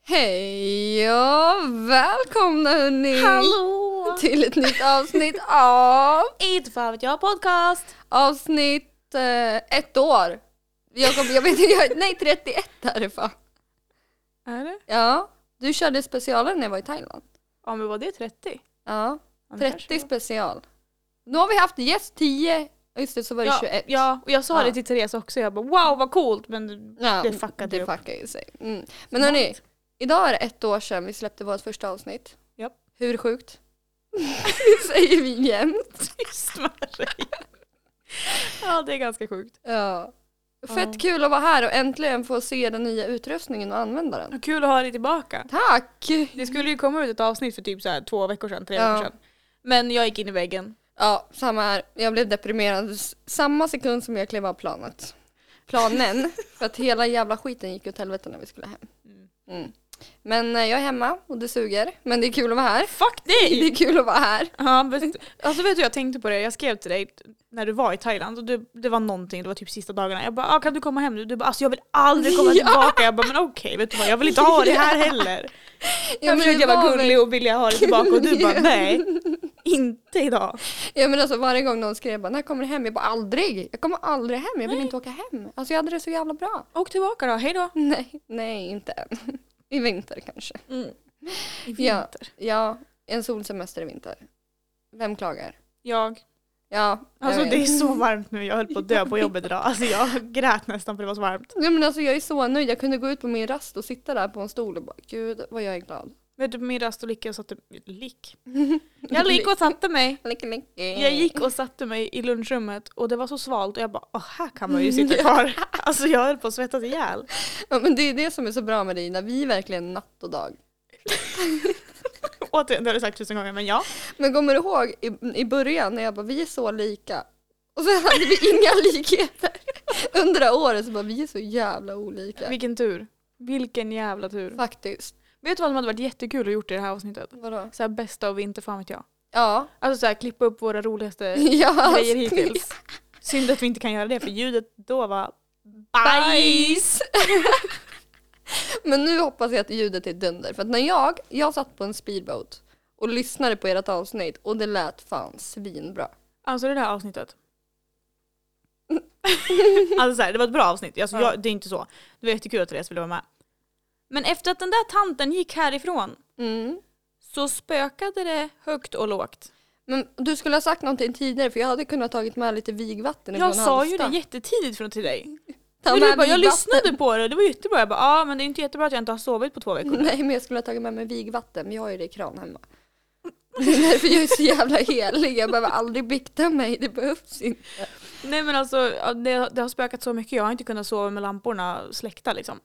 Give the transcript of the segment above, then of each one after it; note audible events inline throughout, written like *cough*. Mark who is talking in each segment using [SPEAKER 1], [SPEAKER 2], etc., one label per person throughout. [SPEAKER 1] Hej och välkomna hörni!
[SPEAKER 2] Hallå!
[SPEAKER 1] Till ett nytt avsnitt av
[SPEAKER 2] Inte Typ- fan vet jag podcast!
[SPEAKER 1] avsnitt eh, ett år. Jakob, jag vet inte, jag, nej 31 är det fan.
[SPEAKER 2] Är det?
[SPEAKER 1] Ja, du körde specialen när jag var i Thailand.
[SPEAKER 2] Ja men var det 30?
[SPEAKER 1] Ja,
[SPEAKER 2] Ja, men kanske
[SPEAKER 1] 30
[SPEAKER 2] det special.
[SPEAKER 1] special. Nu har vi haft gäst 10, just det så var det
[SPEAKER 2] Ja,
[SPEAKER 1] 21.
[SPEAKER 2] ja, och jag sa
[SPEAKER 1] Ja.
[SPEAKER 2] det till Therese också, jag bara wow vad coolt men
[SPEAKER 1] Ja,
[SPEAKER 2] det fuckade
[SPEAKER 1] det
[SPEAKER 2] upp.
[SPEAKER 1] fuckar ju sig. Mm. Men hörni, idag är det ett år sedan vi släppte vårt första avsnitt.
[SPEAKER 2] Japp.
[SPEAKER 1] Hur sjukt? *laughs* det säger vi jämt.
[SPEAKER 2] tyst med *laughs* dig. Ja det är ganska sjukt.
[SPEAKER 1] Ja. Fett
[SPEAKER 2] Ja.
[SPEAKER 1] kul att vara här och äntligen få se den nya utrustningen och använda den.
[SPEAKER 2] Och Kul att ha dig tillbaka.
[SPEAKER 1] Tack!
[SPEAKER 2] Det skulle ju komma ut ett avsnitt för typ så här två veckor sedan, tre
[SPEAKER 1] Ja.
[SPEAKER 2] veckor sedan. Men jag gick in i väggen.
[SPEAKER 1] Ja, samma här. Jag blev deprimerad s- samma sekund som jag klev av planet.
[SPEAKER 2] *laughs*
[SPEAKER 1] Planen. för att hela jävla skiten gick åt helvete när vi skulle hem.
[SPEAKER 2] Mm.
[SPEAKER 1] Mm. Men eh, jag är hemma och det suger. Men det är kul att vara
[SPEAKER 2] *laughs*
[SPEAKER 1] här.
[SPEAKER 2] Fuck
[SPEAKER 1] Det
[SPEAKER 2] dig!
[SPEAKER 1] är kul att vara här.
[SPEAKER 2] Ja, men- alltså vet du jag tänkte på det, jag skrev till dig när du var i Thailand och du, det var någonting, det var typ sista dagarna. Jag bara ah, kan du komma hem nu? Du bara alltså jag vill aldrig
[SPEAKER 1] *laughs*
[SPEAKER 2] komma tillbaka. Jag bara men okej vet du vad jag vill inte ha det här heller.
[SPEAKER 1] men
[SPEAKER 2] Jag försökte
[SPEAKER 1] det
[SPEAKER 2] vara
[SPEAKER 1] väl-
[SPEAKER 2] gullig och vilja ha det tillbaka och du
[SPEAKER 1] *laughs*
[SPEAKER 2] bara nej, inte idag.
[SPEAKER 1] Ja men alltså varje gång någon skrev bara när kommer du hem? Jag bara aldrig. Jag kommer aldrig hem. Jag vill inte åka hem. Alltså jag hade det så jävla bra.
[SPEAKER 2] Åk tillbaka då, hejdå.
[SPEAKER 1] Nej, nej inte än. *laughs* I vinter kanske.
[SPEAKER 2] Mm. I
[SPEAKER 1] Ja.
[SPEAKER 2] vinter.
[SPEAKER 1] Ja, en solsemester i vinter. Vem klagar?
[SPEAKER 2] Jag.
[SPEAKER 1] Ja, jag
[SPEAKER 2] Alltså
[SPEAKER 1] vet.
[SPEAKER 2] det är så varmt nu, jag höll på att dö
[SPEAKER 1] *laughs*
[SPEAKER 2] på jobbet idag. Alltså jag grät nästan för det var så varmt.
[SPEAKER 1] Ja, men alltså jag är så nöjd. Jag kunde gå ut på min rast och sitta där på en stol och bara gud vad jag är glad.
[SPEAKER 2] Vet du på min rast och lick jag satte,
[SPEAKER 1] *laughs*
[SPEAKER 2] lick? Jag lick och satte mig.
[SPEAKER 1] Licka, licka.
[SPEAKER 2] Jag gick
[SPEAKER 1] Eh.
[SPEAKER 2] och satte mig i lunchrummet och det var så svalt och jag bara Åh, här
[SPEAKER 1] *laughs*
[SPEAKER 2] kan man ju sitta kvar. Alltså jag höll på att svettas ihjäl.
[SPEAKER 1] Ja, men det är det som är så bra med dig när vi är verkligen natt och dag.
[SPEAKER 2] Återigen, det har du sagt tusen gånger men ja.
[SPEAKER 1] Men kommer du ihåg i, i början när jag bara vi är så lika och sen *laughs* hade vi inga likheter. Under det här året så bara vi är så jävla olika.
[SPEAKER 2] Vilken tur. Vilken jävla tur.
[SPEAKER 1] Faktiskt.
[SPEAKER 2] Vet du vad som hade varit jättekul att gjort i det här avsnittet?
[SPEAKER 1] Vadå?
[SPEAKER 2] Så här bästa av vinter, fan vet jag.
[SPEAKER 1] Ja. *laughs*
[SPEAKER 2] Alltså så här, klippa upp våra roligaste
[SPEAKER 1] ja. alltså,
[SPEAKER 2] grejer hittills. Synd att vi inte kan göra det för ljudet då var
[SPEAKER 1] Bajs! Men nu hoppas jag att ljudet är dunder. För att när jag, jag satt på en speedboat och lyssnade på ert avsnitt och det lät fan svinbra.
[SPEAKER 2] Alltså det
[SPEAKER 1] *laughs*
[SPEAKER 2] där avsnittet. alltså så här, det var ett bra avsnitt, alltså,
[SPEAKER 1] Ja.
[SPEAKER 2] jag, det är inte så. Det var jättekul att Therese ville vara med. Men efter att den där tanten gick härifrån
[SPEAKER 1] Mm.
[SPEAKER 2] så spökade det högt och lågt.
[SPEAKER 1] Men du skulle ha sagt någonting tidigare för jag hade kunnat tagit med lite vigvatten
[SPEAKER 2] Jag
[SPEAKER 1] ifrån
[SPEAKER 2] sa ju det
[SPEAKER 1] Halmstad.
[SPEAKER 2] jättetidigt från till dig.
[SPEAKER 1] Ta
[SPEAKER 2] Men
[SPEAKER 1] med
[SPEAKER 2] du bara, jag
[SPEAKER 1] vigvatten.
[SPEAKER 2] lyssnade på det, det var jättebra. Jag bara, ja ah, men det är inte jättebra att jag inte har sovit på två veckor.
[SPEAKER 1] Nej men jag skulle ha tagit med mig vigvatten, men jag har ju det i kran hemma. *laughs* Det är därför jag är så jävla helig, jag behöver aldrig bikta mig, det behövs inte.
[SPEAKER 2] Nej men alltså ja, det, det har spökat så mycket, jag har inte kunnat sova med lamporna släckta liksom.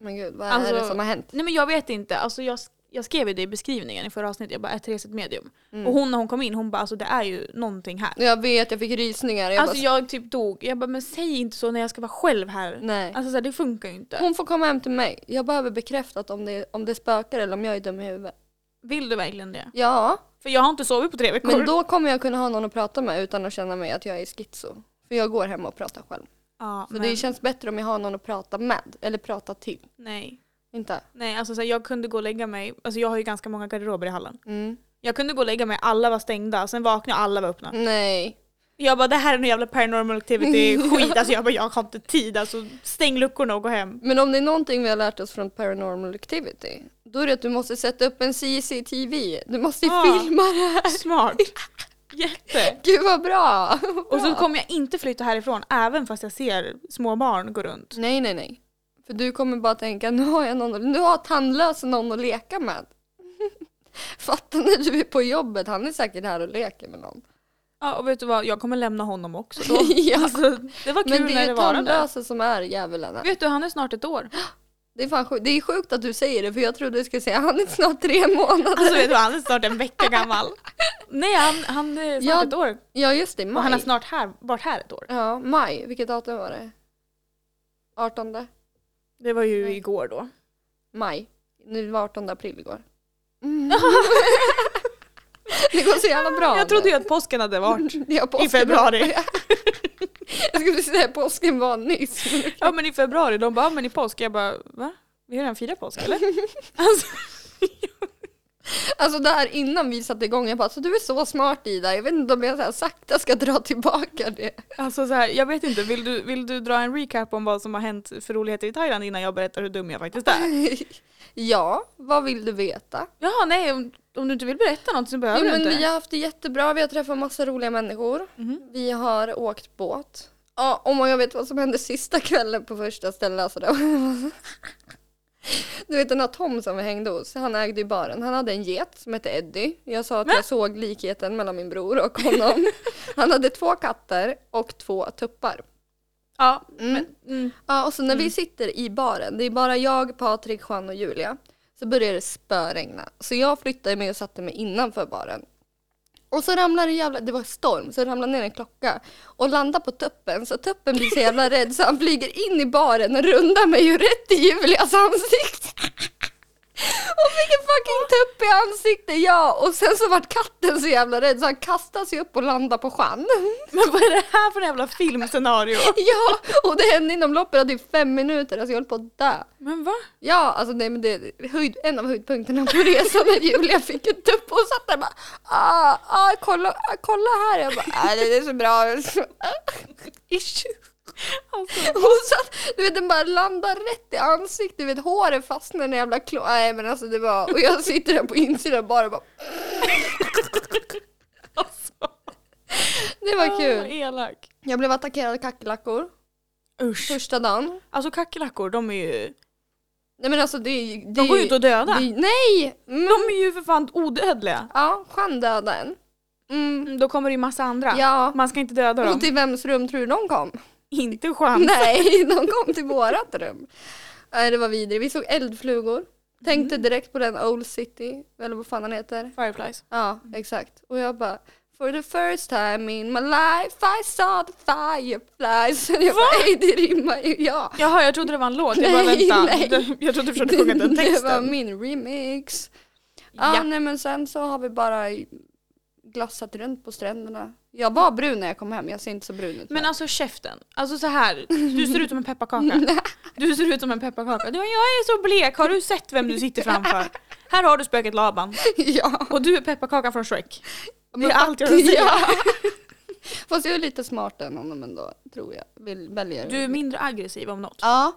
[SPEAKER 1] Men gud, vad
[SPEAKER 2] Alltså-
[SPEAKER 1] är det som har hänt?
[SPEAKER 2] Nej men jag vet inte, alltså jag, jag skrev ju det i beskrivningen i förra avsnittet, jag bara är Therese ett medium?
[SPEAKER 1] Mm.
[SPEAKER 2] Och hon när hon kom in, hon bara alltså det är ju någonting här.
[SPEAKER 1] Jag vet, jag fick rysningar. Jag
[SPEAKER 2] alltså
[SPEAKER 1] bara,
[SPEAKER 2] jag typ dog, jag bara men säg inte så när jag ska vara själv här.
[SPEAKER 1] nej.
[SPEAKER 2] Alltså så här, det funkar ju inte.
[SPEAKER 1] Hon får komma hem till mig. Jag behöver bekräftat om det, om det spökar eller om jag är dum i huvudet.
[SPEAKER 2] Vill du verkligen det?
[SPEAKER 1] Ja,
[SPEAKER 2] För jag har inte sovit på tre veckor.
[SPEAKER 1] men då kommer jag kunna ha någon att prata med utan att känna mig att jag är schizo. För jag går hem och pratar själv.
[SPEAKER 2] ja,
[SPEAKER 1] Så
[SPEAKER 2] men,
[SPEAKER 1] det känns bättre om jag har någon att prata med eller prata till.
[SPEAKER 2] Nej.
[SPEAKER 1] Inte?
[SPEAKER 2] Nej alltså så här, jag kunde gå och lägga mig, alltså jag har ju ganska många garderober i hallen.
[SPEAKER 1] Mm.
[SPEAKER 2] Jag kunde gå och lägga mig, alla var stängda, sen vaknade jag, alla var öppna.
[SPEAKER 1] Nej.
[SPEAKER 2] Jag bara det här är någon jävla paranormal activity *laughs* skit, alltså jag bara jag har inte tid, alltså stäng luckorna och gå *laughs* hem.
[SPEAKER 1] Men om det är någonting vi har lärt oss från Paranormal Activity, då är det att du måste sätta upp en CCTV. Du måste
[SPEAKER 2] Ja.
[SPEAKER 1] filma det här.
[SPEAKER 2] Smart. Jätte.
[SPEAKER 1] Gud vad bra!
[SPEAKER 2] Och så kommer jag inte flytta härifrån även fast jag ser små barn gå runt.
[SPEAKER 1] Nej, nej, nej. För du kommer bara tänka, *laughs* nu har jag någon, nu har tandlösa någon att leka med. *laughs* Fattar när du är på jobbet, han är säkert här och leker med någon.
[SPEAKER 2] Ja och vet du vad, jag kommer lämna honom också *laughs* då.
[SPEAKER 1] Ja.
[SPEAKER 2] alltså, det var kul
[SPEAKER 1] Men det är
[SPEAKER 2] när
[SPEAKER 1] ju
[SPEAKER 2] det var där.
[SPEAKER 1] tandlösa som är djävulen.
[SPEAKER 2] Vet du han är snart ett år.
[SPEAKER 1] Det är, fan sjukt. det är sjukt att du säger det för jag trodde du skulle säga, han är snart *laughs* tre månader.
[SPEAKER 2] *laughs* Alltså vet du han är snart en vecka gammal. *laughs* Nej han, han är snart
[SPEAKER 1] Ja,
[SPEAKER 2] ett år.
[SPEAKER 1] Ja just det, maj.
[SPEAKER 2] Och han har snart här, varit här ett år.
[SPEAKER 1] Ja, maj. Vilket datum var det? 18
[SPEAKER 2] Det var ju
[SPEAKER 1] Nej.
[SPEAKER 2] igår då.
[SPEAKER 1] maj. Nu var 18 april igår. *laughs* Mm. det går så jävla bra.
[SPEAKER 2] Jag trodde ju att påsken hade varit
[SPEAKER 1] Ja,
[SPEAKER 2] i
[SPEAKER 1] påsken.
[SPEAKER 2] februari. *laughs*
[SPEAKER 1] Jag skulle säga påsken var nyss. men-
[SPEAKER 2] Ja men i februari, de bara "Ja, men i påsk, jag bara va? Vi Vi har redan firat påsk *laughs* eller? alltså,
[SPEAKER 1] Alltså där innan vi satte igång, jag bara så du är så smart Ida, jag vet inte om jag så här sakta ska dra tillbaka det. *laughs*
[SPEAKER 2] alltså så här, jag vet inte, vill du, vill du dra en recap om vad som har hänt för roligheter i Thailand innan jag berättar hur dum jag faktiskt är?
[SPEAKER 1] ja, vad vill du veta?
[SPEAKER 2] *laughs* Jaha nej, om, om du inte vill berätta något så behöver
[SPEAKER 1] Jo,
[SPEAKER 2] du
[SPEAKER 1] men
[SPEAKER 2] inte.
[SPEAKER 1] vi har haft det jättebra, vi har träffat massa roliga människor.
[SPEAKER 2] Mhm.
[SPEAKER 1] Vi har åkt båt. Ja, om jag vet vad som hände sista *laughs* kvällen på första stället. Alltså det var- *laughs* du vet den här Tom som vi hängde hos, han ägde ju baren. Han hade en get som hette Eddie. Jag sa att jag såg likheten mellan min bror och
[SPEAKER 2] *laughs*
[SPEAKER 1] honom. Han hade två katter och två tuppar.
[SPEAKER 2] Ja,
[SPEAKER 1] Mm.
[SPEAKER 2] men, mm.
[SPEAKER 1] Ja, och så när vi sitter i baren, det är bara jag, Patrik, Juan och Julia, så börjar det spöregna. Så jag flyttade mig och satte mig innanför baren. Och så ramlar en jävla, det var storm, så ramlar ner en klocka och landar på tuppen. Så tuppen blir så jävla rädd så han flyger in i baren och rundar mig ju rätt i Julias ansikte. *laughs* Och fick en fucking tupp i ansiktet, ja! Och sen så vart katten så jävla rädd så han kastade sig upp och landade på Juan. *laughs*
[SPEAKER 2] men vad är det här för en jävla filmscenario?
[SPEAKER 1] Ja, och det hände inom loppet av typ fem minuter, alltså jag höll på att dö.
[SPEAKER 2] *laughs* Men va?
[SPEAKER 1] Ja, alltså nej, men det höjd, en av höjdpunkterna på resan när Julia fick en tupp och satt där och bara ah, ah, kolla, ah, kolla här. Jag bara, ah, det är så bra.
[SPEAKER 2] Ish. Alltså,
[SPEAKER 1] Hon satt, du vet den bara landar rätt i ansiktet, du vet håret fastnar i den jävla klå. Nej men alltså det var, och jag sitter där på insidan bara, och bara
[SPEAKER 2] alltså.
[SPEAKER 1] det var
[SPEAKER 2] Vad
[SPEAKER 1] kul.
[SPEAKER 2] elak.
[SPEAKER 1] Jag blev attackerad av kackerlackor
[SPEAKER 2] Usch.
[SPEAKER 1] första dagen.
[SPEAKER 2] Alltså kackerlackor, de är ju...
[SPEAKER 1] Nej men alltså det är ju... det
[SPEAKER 2] De
[SPEAKER 1] är
[SPEAKER 2] går
[SPEAKER 1] ju-
[SPEAKER 2] ju inte att döda.
[SPEAKER 1] det är- Nej! Mm,
[SPEAKER 2] De är ju för fan odödliga.
[SPEAKER 1] ja, Jeanne dödade en. Mm,
[SPEAKER 2] Mm, Då kommer det ju massa andra.
[SPEAKER 1] ja.
[SPEAKER 2] Man ska inte döda dem.
[SPEAKER 1] Och till vems rum tror du de kom?
[SPEAKER 2] Inte chans.
[SPEAKER 1] Nej, *laughs* de kom till vårat rum. Nej, det var vidrigt. Vi såg eldflugor.
[SPEAKER 2] Mm.
[SPEAKER 1] Tänkte direkt på den Old City, eller vad fan han heter.
[SPEAKER 2] Fireflies.
[SPEAKER 1] Ja, exakt. Och jag bara, for the first time in my life I saw the fireflies. *laughs* Jag bara, "Ey, det rimmar ju, ja.
[SPEAKER 2] Jaha, jag trodde det var en låt. Jag
[SPEAKER 1] *laughs*
[SPEAKER 2] bara
[SPEAKER 1] Nej,
[SPEAKER 2] vänta.
[SPEAKER 1] nej.
[SPEAKER 2] Det- Jag trodde du försökte sjunga den
[SPEAKER 1] *laughs* det var
[SPEAKER 2] texten.
[SPEAKER 1] min remix. Ja,
[SPEAKER 2] Ja.
[SPEAKER 1] nej men sen så har vi bara glassat runt på stränderna. Jag var brun när jag kom hem, jag ser inte så brun ut.
[SPEAKER 2] Men
[SPEAKER 1] nu.
[SPEAKER 2] alltså käften. Alltså så här. Du ser ut som
[SPEAKER 1] *laughs*
[SPEAKER 2] en pepparkaka.
[SPEAKER 1] Mm.
[SPEAKER 2] Du ser ut som en pepparkaka. Du, jag är så blek. Har du sett vem du sitter framför? Här har du spöket Laban.
[SPEAKER 1] ja.
[SPEAKER 2] Och du är pepparkakan från Shrek. Det
[SPEAKER 1] Men
[SPEAKER 2] är allt jag har att säga.
[SPEAKER 1] Ja. *laughs* Fast jag är lite smartare än honom ändå, tror jag. Vill, väljer.
[SPEAKER 2] Du är mindre aggressiv om något.
[SPEAKER 1] Ja.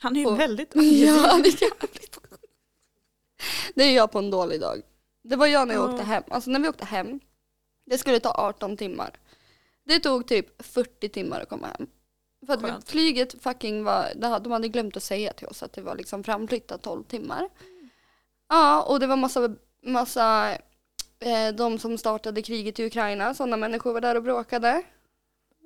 [SPEAKER 2] Han är ju
[SPEAKER 1] Och-
[SPEAKER 2] väldigt
[SPEAKER 1] ja,
[SPEAKER 2] *laughs*
[SPEAKER 1] det är jävligt Det är jag på en dålig dag. Det var jag när jag
[SPEAKER 2] Ja.
[SPEAKER 1] åkte hem. Alltså när vi åkte hem, det skulle ta 18 timmar. Det tog typ 40 timmar att komma hem. För att vi-
[SPEAKER 2] Skönt.
[SPEAKER 1] flyget fucking var, det hade- de hade glömt att säga till oss att det var liksom framflyttat 12 timmar. Ja, och det var massa, massa eh, de som startade kriget i Ukraina, sådana människor var där och bråkade.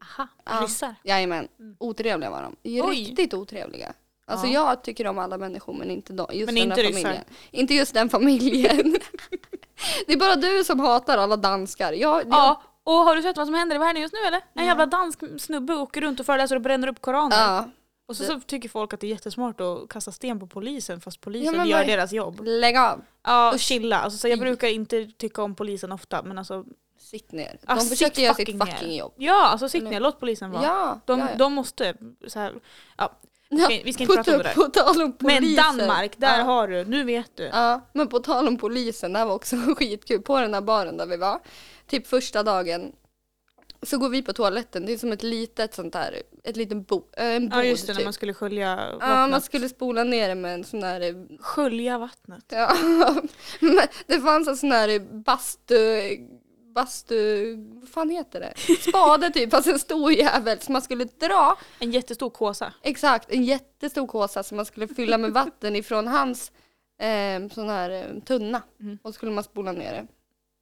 [SPEAKER 2] Aha,
[SPEAKER 1] Ja.
[SPEAKER 2] ryssar.
[SPEAKER 1] Jajamän,
[SPEAKER 2] Mm.
[SPEAKER 1] otrevliga var de.
[SPEAKER 2] Oj.
[SPEAKER 1] Riktigt otrevliga. Alltså
[SPEAKER 2] Ja.
[SPEAKER 1] jag tycker om alla människor men inte de, just
[SPEAKER 2] Men
[SPEAKER 1] den
[SPEAKER 2] inte
[SPEAKER 1] här
[SPEAKER 2] ryssar.
[SPEAKER 1] familjen. Inte just den familjen. *laughs* det är bara du som hatar alla danskar. Jag, jag,
[SPEAKER 2] Ja, och har du sett vad som händer i världen just nu eller? En jävla dansk snubbe åker runt och föreläser och bränner upp koraner.
[SPEAKER 1] ja.
[SPEAKER 2] Och så, så tycker folk att det är jättesmart att kasta sten på polisen fast polisen
[SPEAKER 1] Ja, men
[SPEAKER 2] gör
[SPEAKER 1] vad-
[SPEAKER 2] deras jobb.
[SPEAKER 1] Lägg av,
[SPEAKER 2] Ja, och
[SPEAKER 1] Usch.
[SPEAKER 2] chilla. Alltså, så jag brukar inte tycka om polisen ofta men alltså...
[SPEAKER 1] Alltså, sitt ner. De
[SPEAKER 2] ah, sitt
[SPEAKER 1] försöker göra sitt
[SPEAKER 2] ner.
[SPEAKER 1] fucking jobb.
[SPEAKER 2] Ja, alltså sitt
[SPEAKER 1] Eller-
[SPEAKER 2] ner. Låt polisen vara.
[SPEAKER 1] Ja,
[SPEAKER 2] De,
[SPEAKER 1] ja, ja.
[SPEAKER 2] de måste så här, ja.
[SPEAKER 1] Ja,
[SPEAKER 2] okej, vi ska
[SPEAKER 1] på,
[SPEAKER 2] inte prata om
[SPEAKER 1] tal-
[SPEAKER 2] det där.
[SPEAKER 1] På tal om polisen.
[SPEAKER 2] Men Danmark, där
[SPEAKER 1] ja.
[SPEAKER 2] har du. Nu vet du.
[SPEAKER 1] Ja, men på tal om polisen, det här var också *laughs* skitkul. På den här baren där vi var, typ första dagen, så går vi på toaletten. Det är som ett litet sånt här, ett liten bo, äh, en bod
[SPEAKER 2] Ja just det, när
[SPEAKER 1] typ.
[SPEAKER 2] man skulle skölja vattnet.
[SPEAKER 1] Ja, man skulle spola ner det med en sån här eh,
[SPEAKER 2] Skölja vattnet.
[SPEAKER 1] Ja, *laughs* men det fanns en sån här bastu, bastu, vad fan heter det? Spade typ, fast en stor jävel som man skulle dra,
[SPEAKER 2] En jättestor kåsa.
[SPEAKER 1] exakt, en jättestor kåsa som man skulle fylla med vatten ifrån hans eh, sån här eh, tunna.
[SPEAKER 2] Mm.
[SPEAKER 1] Och så skulle man spola ner det.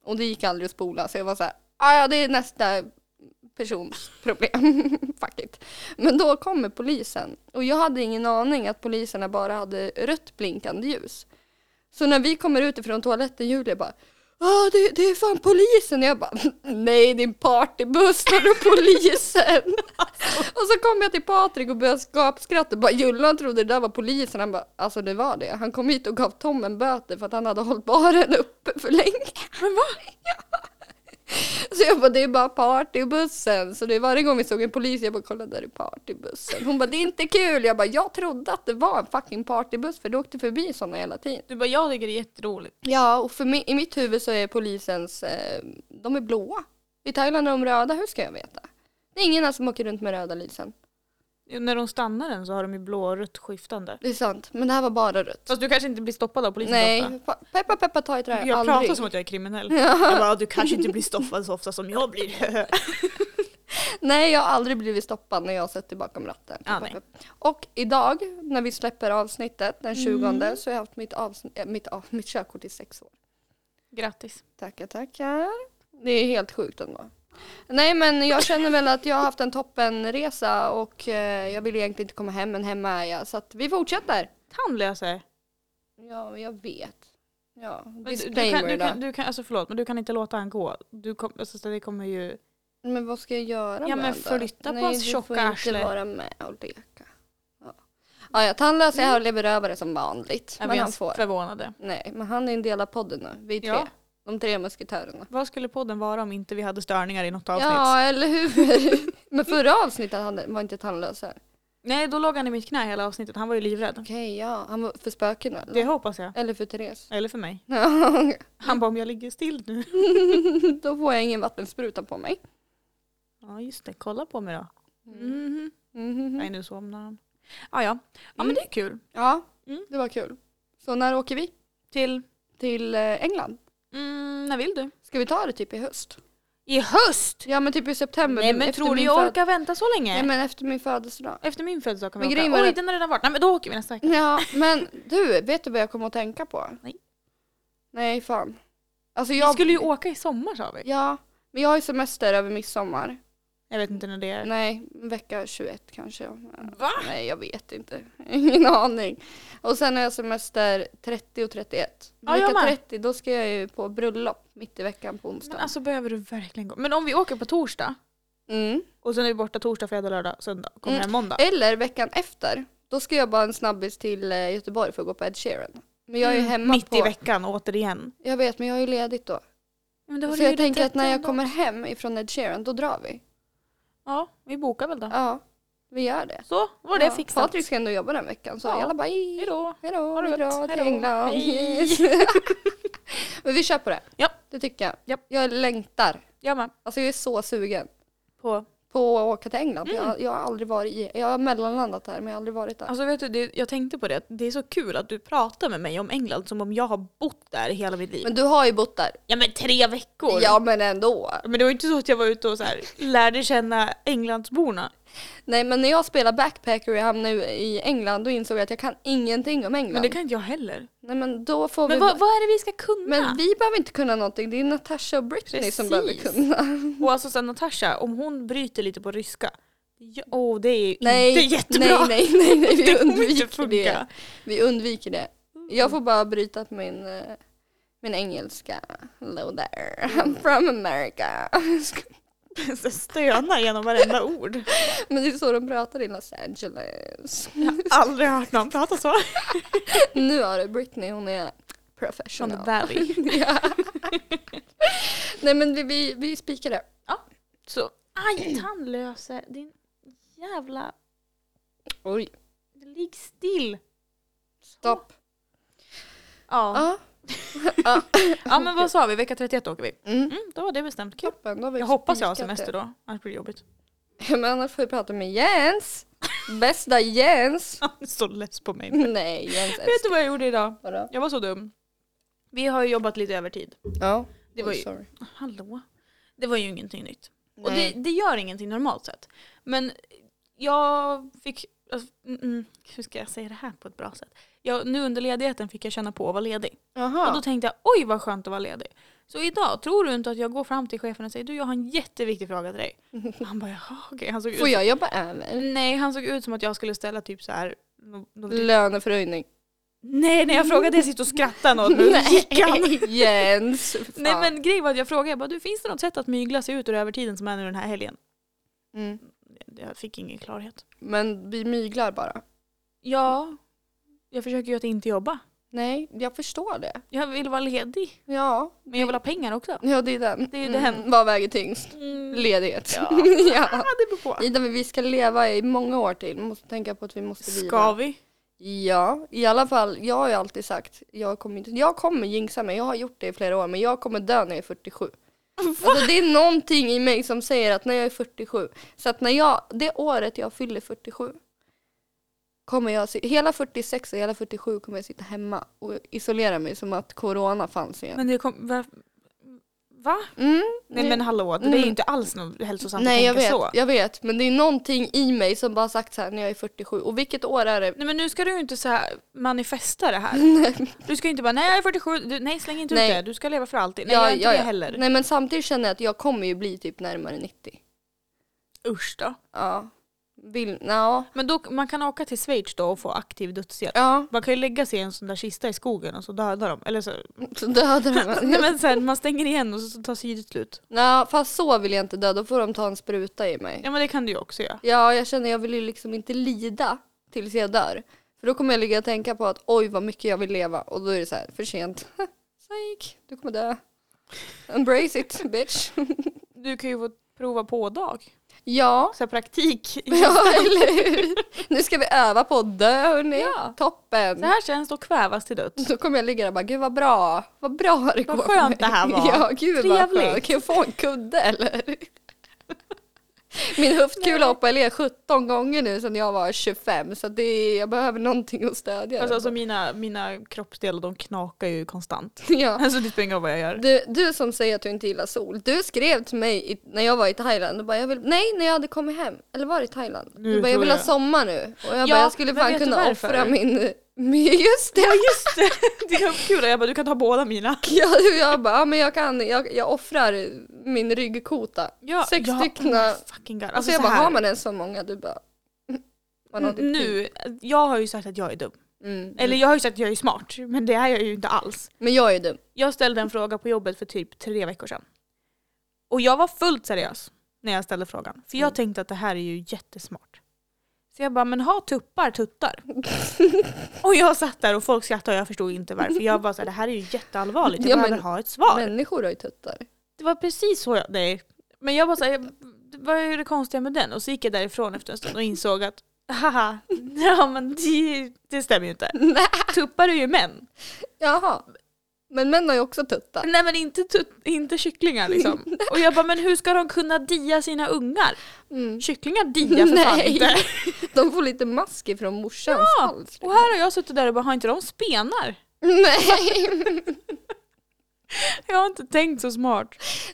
[SPEAKER 1] Och det gick aldrig att spola, så jag var så här, "Ah, ja det är nästa persons problem. *laughs* Fuck it. Men då kommer polisen och jag hade ingen aning att poliserna bara hade rött blinkande ljus. Så när vi kommer ut ifrån toaletten, Julia bara Ja, det, det är fan polisen! Och jag bara, nej din partybuss, var du polisen? och så kom jag till Patrik och började gapskratta. Bara, Jullan trodde det där var polisen. Han bara, alltså det var det. Han kom hit och gav Tom en böter för att han hade hållit baren uppe för länge.
[SPEAKER 2] Men va?
[SPEAKER 1] Så jag bara, det är bara partybussen. Så det varje gång vi såg en polis, jag bara, kolla där är partybussen. Hon bara, det är inte kul. Jag bara, jag trodde att det var en fucking partybuss för det åkte förbi sådana hela tiden.
[SPEAKER 2] Du bara, jag tycker det är jätteroligt.
[SPEAKER 1] Ja, och för mi- i mitt huvud så är polisens, eh, de är blåa. I Thailand är de röda, hur ska jag veta? Det är ingen här som åker runt med röda lysen.
[SPEAKER 2] Jo, När de stannar den så har de ju blå och rött skiftande.
[SPEAKER 1] Det är sant, men det här var bara rött.
[SPEAKER 2] Fast du kanske inte blir stoppad av polisen så ofta.
[SPEAKER 1] Nej, fa- peppa peppa ta i trä,
[SPEAKER 2] liksom Jag
[SPEAKER 1] aldrig.
[SPEAKER 2] pratar som att jag är
[SPEAKER 1] *laughs*
[SPEAKER 2] kriminell. Jag bara, du kanske inte blir stoppad så ofta som jag blir.
[SPEAKER 1] Nej, jag har aldrig blivit stoppad när jag har suttit bakom ratten.
[SPEAKER 2] Ja, nej.
[SPEAKER 1] och idag, när vi släpper avsnittet den 20
[SPEAKER 2] Mm.
[SPEAKER 1] så har jag haft mitt, avsnitt, äh, mitt, av, mitt körkort i sex år.
[SPEAKER 2] Grattis.
[SPEAKER 1] Tackar, tackar. Det är helt sjukt ändå. Nej, men jag känner väl att jag har haft en toppenresa och eh, jag vill egentligen inte komma hem, men hemma är jag. Så att vi fortsätter.
[SPEAKER 2] Tandlöse.
[SPEAKER 1] Ja, men jag vet. Ja,
[SPEAKER 2] Men du, du, kan,
[SPEAKER 1] disclaimer
[SPEAKER 2] du,
[SPEAKER 1] då.
[SPEAKER 2] kan, du kan, alltså förlåt, men du kan inte låta han gå. Du kom, alltså, det kommer ju...
[SPEAKER 1] Men vad ska jag göra med
[SPEAKER 2] Ja, men
[SPEAKER 1] han då?
[SPEAKER 2] flytta på
[SPEAKER 1] Nej,
[SPEAKER 2] hans
[SPEAKER 1] du
[SPEAKER 2] tjocka
[SPEAKER 1] får inte
[SPEAKER 2] arsle.
[SPEAKER 1] vara med och leka. Ja, ja, ja tandlös är jag berövare som vanligt.
[SPEAKER 2] är Mm. vi
[SPEAKER 1] men han
[SPEAKER 2] ens
[SPEAKER 1] får.
[SPEAKER 2] förvånade.
[SPEAKER 1] Nej, men han är en del av podden nu. Vi tre.
[SPEAKER 2] Ja.
[SPEAKER 1] De tre musketörerna.
[SPEAKER 2] Vad skulle podden vara om inte vi hade störningar i något avsnitt?
[SPEAKER 1] Ja, eller hur? *laughs* men förra avsnittet hade- var inte tandlös här.
[SPEAKER 2] Nej, då låg han i mitt knä hela avsnittet. Han var ju livrädd.
[SPEAKER 1] Okej, ja. Han var för spöken eller?
[SPEAKER 2] Det hoppas jag.
[SPEAKER 1] Eller för Therese.
[SPEAKER 2] Eller för mig.
[SPEAKER 1] *laughs* Ja,
[SPEAKER 2] Han bara, om jag ligger still nu. *laughs*
[SPEAKER 1] Då får jag ingen vattenspruta på mig.
[SPEAKER 2] Ja, just det. Kolla på mig då.
[SPEAKER 1] Mm.
[SPEAKER 2] Mhm.
[SPEAKER 1] Mhm.
[SPEAKER 2] Nej, nu somnar han. Ah, ja, ja. Ja, men det är kul.
[SPEAKER 1] Ja,
[SPEAKER 2] Mm.
[SPEAKER 1] det var kul. Så när åker vi?
[SPEAKER 2] Till,
[SPEAKER 1] Till eh, England?
[SPEAKER 2] mm, när vill du?
[SPEAKER 1] Ska vi ta det typ i höst?
[SPEAKER 2] I höst!
[SPEAKER 1] Ja men typ i september.
[SPEAKER 2] Nej, men
[SPEAKER 1] efter
[SPEAKER 2] tror du
[SPEAKER 1] min
[SPEAKER 2] jag
[SPEAKER 1] föd-
[SPEAKER 2] orkar vänta så länge?
[SPEAKER 1] Nej men efter min födelsedag.
[SPEAKER 2] Efter min födelsedag kan vi
[SPEAKER 1] Men
[SPEAKER 2] åka.
[SPEAKER 1] grejen var
[SPEAKER 2] Oj,
[SPEAKER 1] att-
[SPEAKER 2] den har redan varit. Nej, men då åker vi nästa vecka.
[SPEAKER 1] Ja men du, vet du vad jag kommer att tänka på?
[SPEAKER 2] Nej.
[SPEAKER 1] Nej fan. Alltså
[SPEAKER 2] Vi
[SPEAKER 1] jag...
[SPEAKER 2] skulle ju åka i sommar sa vi.
[SPEAKER 1] Ja, men jag har ju semester över midsommar.
[SPEAKER 2] Jag vet inte när det är.
[SPEAKER 1] Nej, vecka 21 kanske.
[SPEAKER 2] Va?
[SPEAKER 1] Nej jag vet inte. *laughs* Ingen aning. Och sen har jag semester 30 och 31.
[SPEAKER 2] Ja, jag
[SPEAKER 1] vecka
[SPEAKER 2] med.
[SPEAKER 1] 30 då ska jag ju på bröllop mitt i veckan på onsdag.
[SPEAKER 2] Men alltså behöver du verkligen gå? Men om vi åker på torsdag
[SPEAKER 1] mm.
[SPEAKER 2] och sen är vi borta torsdag, fredag, lördag, söndag, kommer
[SPEAKER 1] Mm.
[SPEAKER 2] hem måndag.
[SPEAKER 1] Eller veckan efter. Då ska jag bara en snabbis till eh, Göteborg för att gå på Ed Sheeran. Men jag är ju
[SPEAKER 2] Mm.
[SPEAKER 1] hemma
[SPEAKER 2] Mitt
[SPEAKER 1] på...
[SPEAKER 2] i veckan återigen.
[SPEAKER 1] Jag vet men jag är ju ledigt då.
[SPEAKER 2] Men då har
[SPEAKER 1] Så
[SPEAKER 2] du ju
[SPEAKER 1] jag tänker
[SPEAKER 2] rätt
[SPEAKER 1] att när jag
[SPEAKER 2] ändå.
[SPEAKER 1] kommer hem ifrån Ed Sheeran då drar vi.
[SPEAKER 2] Ja, vi bokar väl då.
[SPEAKER 1] Ja, vi gör det.
[SPEAKER 2] Så var det
[SPEAKER 1] ja.
[SPEAKER 2] fixat.
[SPEAKER 1] Patrik ska ändå jobba den veckan så
[SPEAKER 2] Ja.
[SPEAKER 1] alla bara hej
[SPEAKER 2] Hejdå.
[SPEAKER 1] Hejdå,
[SPEAKER 2] Ha
[SPEAKER 1] vi
[SPEAKER 2] det gött.
[SPEAKER 1] drar till
[SPEAKER 2] Hejdå.
[SPEAKER 1] England.
[SPEAKER 2] Hej.
[SPEAKER 1] Yes. *laughs* Men vi kör på det.
[SPEAKER 2] Ja.
[SPEAKER 1] Det tycker jag.
[SPEAKER 2] Ja.
[SPEAKER 1] Jag längtar.
[SPEAKER 2] Jag med.
[SPEAKER 1] Alltså jag är så sugen
[SPEAKER 2] På.
[SPEAKER 1] på att åka till England.
[SPEAKER 2] Mm.
[SPEAKER 1] Jag, jag har aldrig varit i, jag har mellanlandat här men jag har aldrig varit där.
[SPEAKER 2] Alltså vet du, det, jag tänkte på det. att Det är så kul att du pratar med mig om England som om jag har bott där hela mitt liv.
[SPEAKER 1] Men du har ju bott där.
[SPEAKER 2] ja men tre veckor!
[SPEAKER 1] Ja men ändå.
[SPEAKER 2] Men det var ju inte så att jag var ute och så här, lärde känna Englandsborna.
[SPEAKER 1] Nej men när jag spelade backpacker och jag hamnade i England då insåg jag att jag kan ingenting om England.
[SPEAKER 2] Men det kan inte jag heller.
[SPEAKER 1] Nej men då får
[SPEAKER 2] Men
[SPEAKER 1] vi...
[SPEAKER 2] vad, vad är det vi ska kunna?
[SPEAKER 1] Men vi behöver inte kunna någonting, det är Natasha och Britney som
[SPEAKER 2] Precis.
[SPEAKER 1] behöver kunna.
[SPEAKER 2] Och alltså sen Natasha, om hon bryter lite på ryska, ja, oh, det är
[SPEAKER 1] Nej,
[SPEAKER 2] inte jättebra.
[SPEAKER 1] nej, nej, nej, nej, vi
[SPEAKER 2] *laughs* Det kommer inte
[SPEAKER 1] undviker det.
[SPEAKER 2] funka.
[SPEAKER 1] Vi undviker det. Jag får bara bryta på min, eh, min engelska. Hello there, I'm *laughs* from America. *laughs*
[SPEAKER 2] Så Stöna genom varenda ord.
[SPEAKER 1] Men det är så de pratar i Los Angeles.
[SPEAKER 2] Aldrig hört någon prata så.
[SPEAKER 1] Nu har du Britney, hon är
[SPEAKER 2] Från the
[SPEAKER 1] professional.
[SPEAKER 2] valley.
[SPEAKER 1] *laughs* Ja. Nej men vi, vi, vi spikar det.
[SPEAKER 2] Så, aj tandlöse, din jävla,
[SPEAKER 1] Oj,
[SPEAKER 2] ligg still.
[SPEAKER 1] stopp.
[SPEAKER 2] Ja.
[SPEAKER 1] Ja,
[SPEAKER 2] ja men vad sa vi, vecka 31 åker vi.
[SPEAKER 1] mm.
[SPEAKER 2] Mm, då var det bestämt. Kul.
[SPEAKER 1] Toppen, då har vi
[SPEAKER 2] Jag hoppas jag har
[SPEAKER 1] spikat det.
[SPEAKER 2] semester då, annars blir det jobbigt.
[SPEAKER 1] *laughs* Men annars får vi prata med
[SPEAKER 2] *laughs*
[SPEAKER 1] Jens. Bästa Jens.
[SPEAKER 2] Han är så less på
[SPEAKER 1] *laughs*
[SPEAKER 2] mig.
[SPEAKER 1] Nej, Jens
[SPEAKER 2] Vet
[SPEAKER 1] älskar
[SPEAKER 2] du vad jag gjorde idag?
[SPEAKER 1] Vadå?
[SPEAKER 2] Jag var så dum. Vi har ju jobbat lite övertid.
[SPEAKER 1] Ja,
[SPEAKER 2] Det var ju,
[SPEAKER 1] sorry.
[SPEAKER 2] hallå? Det var ju ingenting nytt. Och det,
[SPEAKER 1] Nej.
[SPEAKER 2] det gör ingenting normalt sett. Men jag fick, alltså, mm, mm, hur ska jag säga det här på ett bra sätt? Jag, nu under ledigheten fick jag känna på att vara ledig. Och då
[SPEAKER 1] Jaha.
[SPEAKER 2] tänkte jag, oj vad skönt att vara ledig. Så idag, tror du inte att jag går fram till chefen och säger du jag har en jätteviktig fråga
[SPEAKER 1] *laughs*
[SPEAKER 2] till dig? Han bara jaha okej. Han såg ut,
[SPEAKER 1] Får jag jobba över?
[SPEAKER 2] Nej han såg ut som att jag skulle ställa typ så här. no- no- *laughs*
[SPEAKER 1] Löneförhöjning.
[SPEAKER 2] Nej när jag frågade jag sitter och
[SPEAKER 1] *laughs*
[SPEAKER 2] skrattar något nu. gick han.
[SPEAKER 1] Jens. fan.
[SPEAKER 2] Nej men grejen var att jag frågade, jag bara, du, finns det något sätt att mygla sig ut ur övertiden som är nu den här helgen?
[SPEAKER 1] Mm.
[SPEAKER 2] Jag fick ingen klarhet.
[SPEAKER 1] men vi myglar bara.
[SPEAKER 2] Ja, jag försöker ju att inte jobba.
[SPEAKER 1] Nej, jag förstår det.
[SPEAKER 2] Jag vill vara ledig.
[SPEAKER 1] Ja,
[SPEAKER 2] Men jag vill ha pengar också.
[SPEAKER 1] ja det är den.
[SPEAKER 2] Det är ju den.
[SPEAKER 1] Mm, vad väger tyngst?
[SPEAKER 2] Mm.
[SPEAKER 1] Ledighet.
[SPEAKER 2] Ja.
[SPEAKER 1] *laughs* ja.
[SPEAKER 2] det beror på.
[SPEAKER 1] Ida, men vi ska leva i många år till. Vi måste tänka på att vi måste vila.
[SPEAKER 2] Ska vi?
[SPEAKER 1] Ja, i alla fall. Jag har ju alltid sagt, jag kommer, inte, jag kommer jinxa mig. Jag har gjort det i flera år, men jag kommer dö när jag är 47. Alltså, det är någonting i mig som säger att när jag är 47, så att när jag, det året jag fyller 47, kommer jag, si- hela 46 och hela 47 kommer jag sitta hemma och isolera mig som att corona fanns igen.
[SPEAKER 2] Men det kom... Va? va?
[SPEAKER 1] Mm,
[SPEAKER 2] Nej men hallå, det är
[SPEAKER 1] Mm.
[SPEAKER 2] ju inte alls något hälsosamt
[SPEAKER 1] Nej jag
[SPEAKER 2] att tänka
[SPEAKER 1] vet,
[SPEAKER 2] så.
[SPEAKER 1] jag vet, men det är någonting i mig som bara sagt så här när jag är 47, och vilket år är det?
[SPEAKER 2] Nej men nu ska du ju inte så här manifesta det här. Du ska ju inte bara nej jag är 47, du, nej släng inte
[SPEAKER 1] Nej.
[SPEAKER 2] ut det, du ska leva för alltid. Nej jag är inte det heller.
[SPEAKER 1] Nej men samtidigt känner jag att jag kommer ju bli typ närmare 90.
[SPEAKER 2] Usch då.
[SPEAKER 1] Ja. Vill, ja.
[SPEAKER 2] Men då, man kan åka till Schweiz då och få aktiv dödshjälp.
[SPEAKER 1] Ja.
[SPEAKER 2] Man kan ju lägga sig i en sån där kista i skogen och så dödar de. Eller så,
[SPEAKER 1] Så dödar de
[SPEAKER 2] *laughs* nej
[SPEAKER 1] mig.
[SPEAKER 2] men sen man stänger igen och så tar syret slut.
[SPEAKER 1] Nej, fast så vill jag inte dö, då får de ta en spruta i mig.
[SPEAKER 2] Ja men det kan du ju också göra.
[SPEAKER 1] Ja, jag känner jag vill ju liksom inte lida tills jag dör. För då kommer jag ligga och tänka på att oj vad mycket jag vill leva och då är det så här för sent. *laughs* Psyk, du kommer dö. Embrace it bitch. *laughs*
[SPEAKER 2] Du kan ju få prova på dag.
[SPEAKER 1] Ja.
[SPEAKER 2] Så här praktik.
[SPEAKER 1] *laughs* Ja, eller hur? Nu ska vi öva på att dö hörni.
[SPEAKER 2] Ja.
[SPEAKER 1] Toppen.
[SPEAKER 2] Så här känns det att kvävas till döds.
[SPEAKER 1] *laughs* Då kommer jag ligga där och bara, gud vad bra, vad bra det
[SPEAKER 2] Vad
[SPEAKER 1] går för
[SPEAKER 2] skönt
[SPEAKER 1] mig." *laughs*
[SPEAKER 2] det här var.
[SPEAKER 1] Ja, gud vad skönt.
[SPEAKER 2] Trevligt.
[SPEAKER 1] Kan jag få en kudde eller? *laughs* Min höftkula
[SPEAKER 2] Nej.
[SPEAKER 1] hoppade ner 17 gånger nu sedan jag var 25 så det är, jag behöver någonting att stödja.
[SPEAKER 2] Alltså,
[SPEAKER 1] den
[SPEAKER 2] alltså
[SPEAKER 1] på.
[SPEAKER 2] mina, mina kroppsdelar de knakar ju konstant. *laughs*
[SPEAKER 1] *laughs* ja.
[SPEAKER 2] Alltså det spelar ingen roll vad
[SPEAKER 1] *laughs*
[SPEAKER 2] jag gör.
[SPEAKER 1] du, du som säger att du inte gillar sol, du skrev till mig i, när jag var i Thailand och bara, jag vill, nej när jag hade kommit hem, eller var det i Thailand?
[SPEAKER 2] Nu
[SPEAKER 1] du bara, jag
[SPEAKER 2] tror
[SPEAKER 1] vill ha
[SPEAKER 2] jag.
[SPEAKER 1] sommar nu och jag
[SPEAKER 2] Ja,
[SPEAKER 1] bara, jag skulle
[SPEAKER 2] men
[SPEAKER 1] fan
[SPEAKER 2] vet du
[SPEAKER 1] kunna
[SPEAKER 2] varför?
[SPEAKER 1] offra min, *laughs* min, just det!
[SPEAKER 2] Just *laughs* det, det är kul. Jag bara du kan ta båda mina.
[SPEAKER 1] *laughs* Ja, jag bara, ja, men jag kan, jag, jag offrar min ryggkota.
[SPEAKER 2] Ja,
[SPEAKER 1] Sex
[SPEAKER 2] ja,
[SPEAKER 1] stycken.
[SPEAKER 2] oh, fucking god.
[SPEAKER 1] Alltså
[SPEAKER 2] Alltså,
[SPEAKER 1] jag
[SPEAKER 2] så
[SPEAKER 1] bara,
[SPEAKER 2] här, Mm,
[SPEAKER 1] har man ens så många? Du bara... man har typ tio.
[SPEAKER 2] nu, jag har ju sagt att jag är dum.
[SPEAKER 1] Mm.
[SPEAKER 2] Eller jag har ju sagt att jag är smart, men det är jag ju inte alls.
[SPEAKER 1] Men jag är dum.
[SPEAKER 2] Jag ställde en fråga på jobbet för typ tre veckor sedan. Och jag var fullt seriös när jag ställde frågan. För jag
[SPEAKER 1] Mm.
[SPEAKER 2] tänkte att det här är ju jättesmart. Så jag bara, men ha
[SPEAKER 1] *laughs*
[SPEAKER 2] tuppar tuttar? och jag satt där och folk skrattade och jag förstod inte varför. Jag bara, så här, det här är ju jätteallvarligt. Jag
[SPEAKER 1] Ja, men-
[SPEAKER 2] behöver ha ett svar.
[SPEAKER 1] Människor har ju tuttar.
[SPEAKER 2] Det var precis så jag, nej. Men jag bara såhär, vad är det konstiga med den? Och så gick jag därifrån efter en stund och insåg att haha, *laughs* ja men det, det stämmer ju inte.
[SPEAKER 1] *laughs*
[SPEAKER 2] Tuppar är ju män.
[SPEAKER 1] Jaha. Men män har ju också tuttar.
[SPEAKER 2] *laughs* Nej men inte, tut- inte
[SPEAKER 1] *laughs*
[SPEAKER 2] kycklingar liksom. Och jag bara, men hur ska de kunna dia sina ungar?
[SPEAKER 1] Mm.
[SPEAKER 2] Kycklingar diar för fan
[SPEAKER 1] Nej.
[SPEAKER 2] inte. *laughs*
[SPEAKER 1] De får lite mask ifrån morsans
[SPEAKER 2] Ja,
[SPEAKER 1] hals.
[SPEAKER 2] Och här har jag suttit där och bara, har inte de spenar?
[SPEAKER 1] Nej. *laughs*
[SPEAKER 2] Jag har inte tänkt så smart.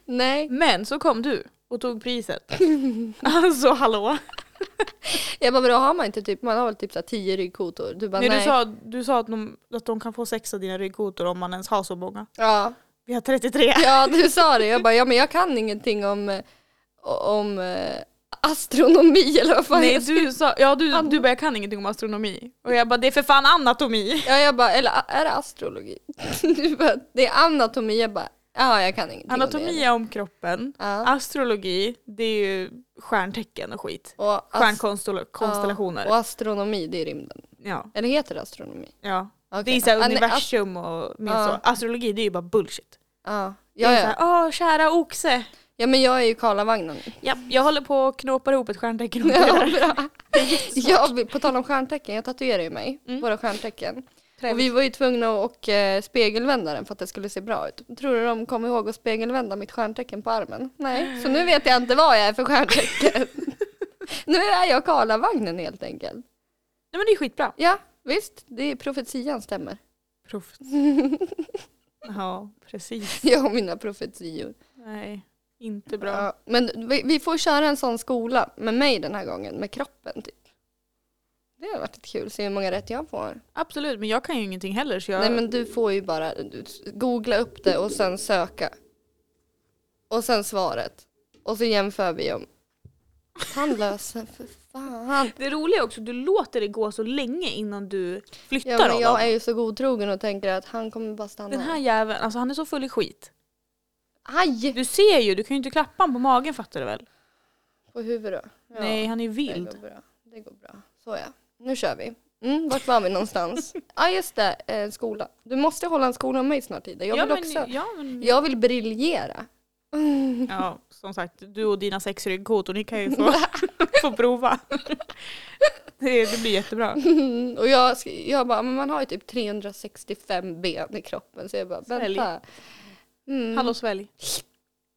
[SPEAKER 1] Nej.
[SPEAKER 2] Men så kom du och
[SPEAKER 1] *laughs*
[SPEAKER 2] tog priset. Alltså hallå.
[SPEAKER 1] Jag bara, vadå har man inte typ, man har väl typ så här tio ryggkotor? Du bara,
[SPEAKER 2] Nej,
[SPEAKER 1] nej.
[SPEAKER 2] du sa, du sa att, de, att de kan få sex av dina ryggkotor om man ens har så många.
[SPEAKER 1] Ja.
[SPEAKER 2] Vi har 33.
[SPEAKER 1] ja, du sa det. Jag bara, ja men jag kan ingenting om, eh, om eh, astronomi eller *laughs* vad fan
[SPEAKER 2] Nej
[SPEAKER 1] heter
[SPEAKER 2] du sa, ja du, du bara jag kan ingenting om astronomi. Och jag bara det är för fan anatomi.
[SPEAKER 1] Ja jag bara, eller är det astrologi? *laughs* Du bara, det är anatomi, jag bara, ja jag kan ingenting om det.
[SPEAKER 2] Anatomi är om kroppen.
[SPEAKER 1] Ja.
[SPEAKER 2] Astrologi det är ju stjärntecken och skit.
[SPEAKER 1] Och ast- Alltså, Ja,
[SPEAKER 2] Stjärnkonstellationer.
[SPEAKER 1] och astronomi, det är rymden.
[SPEAKER 2] Ja,
[SPEAKER 1] Eller heter det astronomi?
[SPEAKER 2] ja.
[SPEAKER 1] Okej.
[SPEAKER 2] Det är såhär
[SPEAKER 1] Ja, nej, ast-
[SPEAKER 2] universum och mer
[SPEAKER 1] Ja.
[SPEAKER 2] så. Astrologi det är ju bara bullshit.
[SPEAKER 1] Ja,
[SPEAKER 2] Det är
[SPEAKER 1] ja,
[SPEAKER 2] såhär,
[SPEAKER 1] ja.
[SPEAKER 2] åh kära oxe.
[SPEAKER 1] ja men jag är ju
[SPEAKER 2] *laughs*
[SPEAKER 1] Karlavagnen.
[SPEAKER 2] Ja, jag håller på och knåpar ihop ett stjärntecken. och
[SPEAKER 1] Ja,
[SPEAKER 2] gör
[SPEAKER 1] bra. Jag, vill- på tal om stjärntecken, jag tatuerar ju mig,
[SPEAKER 2] Mm.
[SPEAKER 1] våra stjärntecken.
[SPEAKER 2] det.
[SPEAKER 1] Och vi var ju tvungna att och, eh, spegelvända den för att det skulle se bra ut. Tror du de kom ihåg att spegelvända mitt stjärntecken på armen? Nej, så nu vet jag inte vad jag är för
[SPEAKER 2] *laughs*
[SPEAKER 1] stjärntecken. nu är jag Karlavagnen helt enkelt.
[SPEAKER 2] Nej men det är skitbra.
[SPEAKER 1] Ja, visst. Det är profetian stämmer. *laughs*
[SPEAKER 2] Proffs. ja, precis.
[SPEAKER 1] Jag har mina profetior.
[SPEAKER 2] Nej, inte bra.
[SPEAKER 1] Ja, men vi, vi får köra en sån skola med mig den här gången, med kroppen typ. Det har varit lite kul, se hur många rätt jag får.
[SPEAKER 2] Absolut, men jag kan ju ingenting heller så jag...
[SPEAKER 1] Nej men du får ju bara du- googla upp det och sen söka. Och sen svaret. Och så jämför vi om. Tandlösen, för fan.
[SPEAKER 2] Det roliga är också att du låter det gå så länge innan du flyttar
[SPEAKER 1] Ja, men
[SPEAKER 2] honom.
[SPEAKER 1] jag är ju så godtrogen och tänker att han kommer bara stanna.
[SPEAKER 2] Den här jäveln, alltså han är så full i skit.
[SPEAKER 1] Aj!
[SPEAKER 2] Du ser ju, du kan ju inte klappa honom på magen fattar du väl?
[SPEAKER 1] På huvudet. Ja.
[SPEAKER 2] Nej, han är ju
[SPEAKER 1] Det
[SPEAKER 2] vild.
[SPEAKER 1] går bra. Det går bra. Så ja, nu kör vi. Mm, vart var vi
[SPEAKER 2] *laughs*
[SPEAKER 1] någonstans? Ja ah, just det, eh, skola. Du måste hålla en skola med mig snart Ida. Jag
[SPEAKER 2] ja,
[SPEAKER 1] vill
[SPEAKER 2] men,
[SPEAKER 1] också,
[SPEAKER 2] Ja, men, ja.
[SPEAKER 1] jag vill briljera. *laughs*
[SPEAKER 2] som sagt, du och dina sex ryggkotor, ni kan ju *laughs* få, få prova. Det, det blir jättebra.
[SPEAKER 1] Mm, och jag, sk- jag bara, men man har ju typ 365 ben i kroppen så jag bara,
[SPEAKER 2] Svälj.
[SPEAKER 1] vänta. Mm.
[SPEAKER 2] Hallå svälj.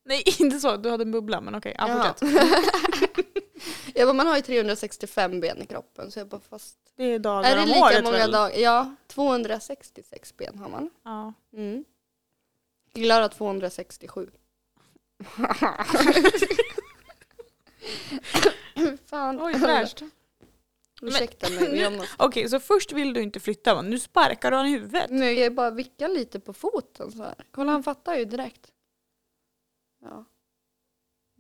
[SPEAKER 2] Nej, *laughs* inte så. Du hade en bubbla, men okej.
[SPEAKER 1] Jaha.
[SPEAKER 2] Ja, fortsätt.
[SPEAKER 1] *laughs* Jag bara, man har ju 365 ben i kroppen så jag bara, fast
[SPEAKER 2] det är dagar
[SPEAKER 1] är det
[SPEAKER 2] om
[SPEAKER 1] lika
[SPEAKER 2] året
[SPEAKER 1] många
[SPEAKER 2] väl?
[SPEAKER 1] dagar? Ja, 266 ben har man.
[SPEAKER 2] Ja.
[SPEAKER 1] Mm. Klara *laughs* 267. Fan.
[SPEAKER 2] Oj, fräscht.
[SPEAKER 1] Ursäkta mig, *laughs* men jag måste...
[SPEAKER 2] Okej, så först vill du inte flytta, va? nu sparkar du han i huvudet.
[SPEAKER 1] Nu jag bara vicka lite på foten så här. Kolla han fattar ju direkt. Ja.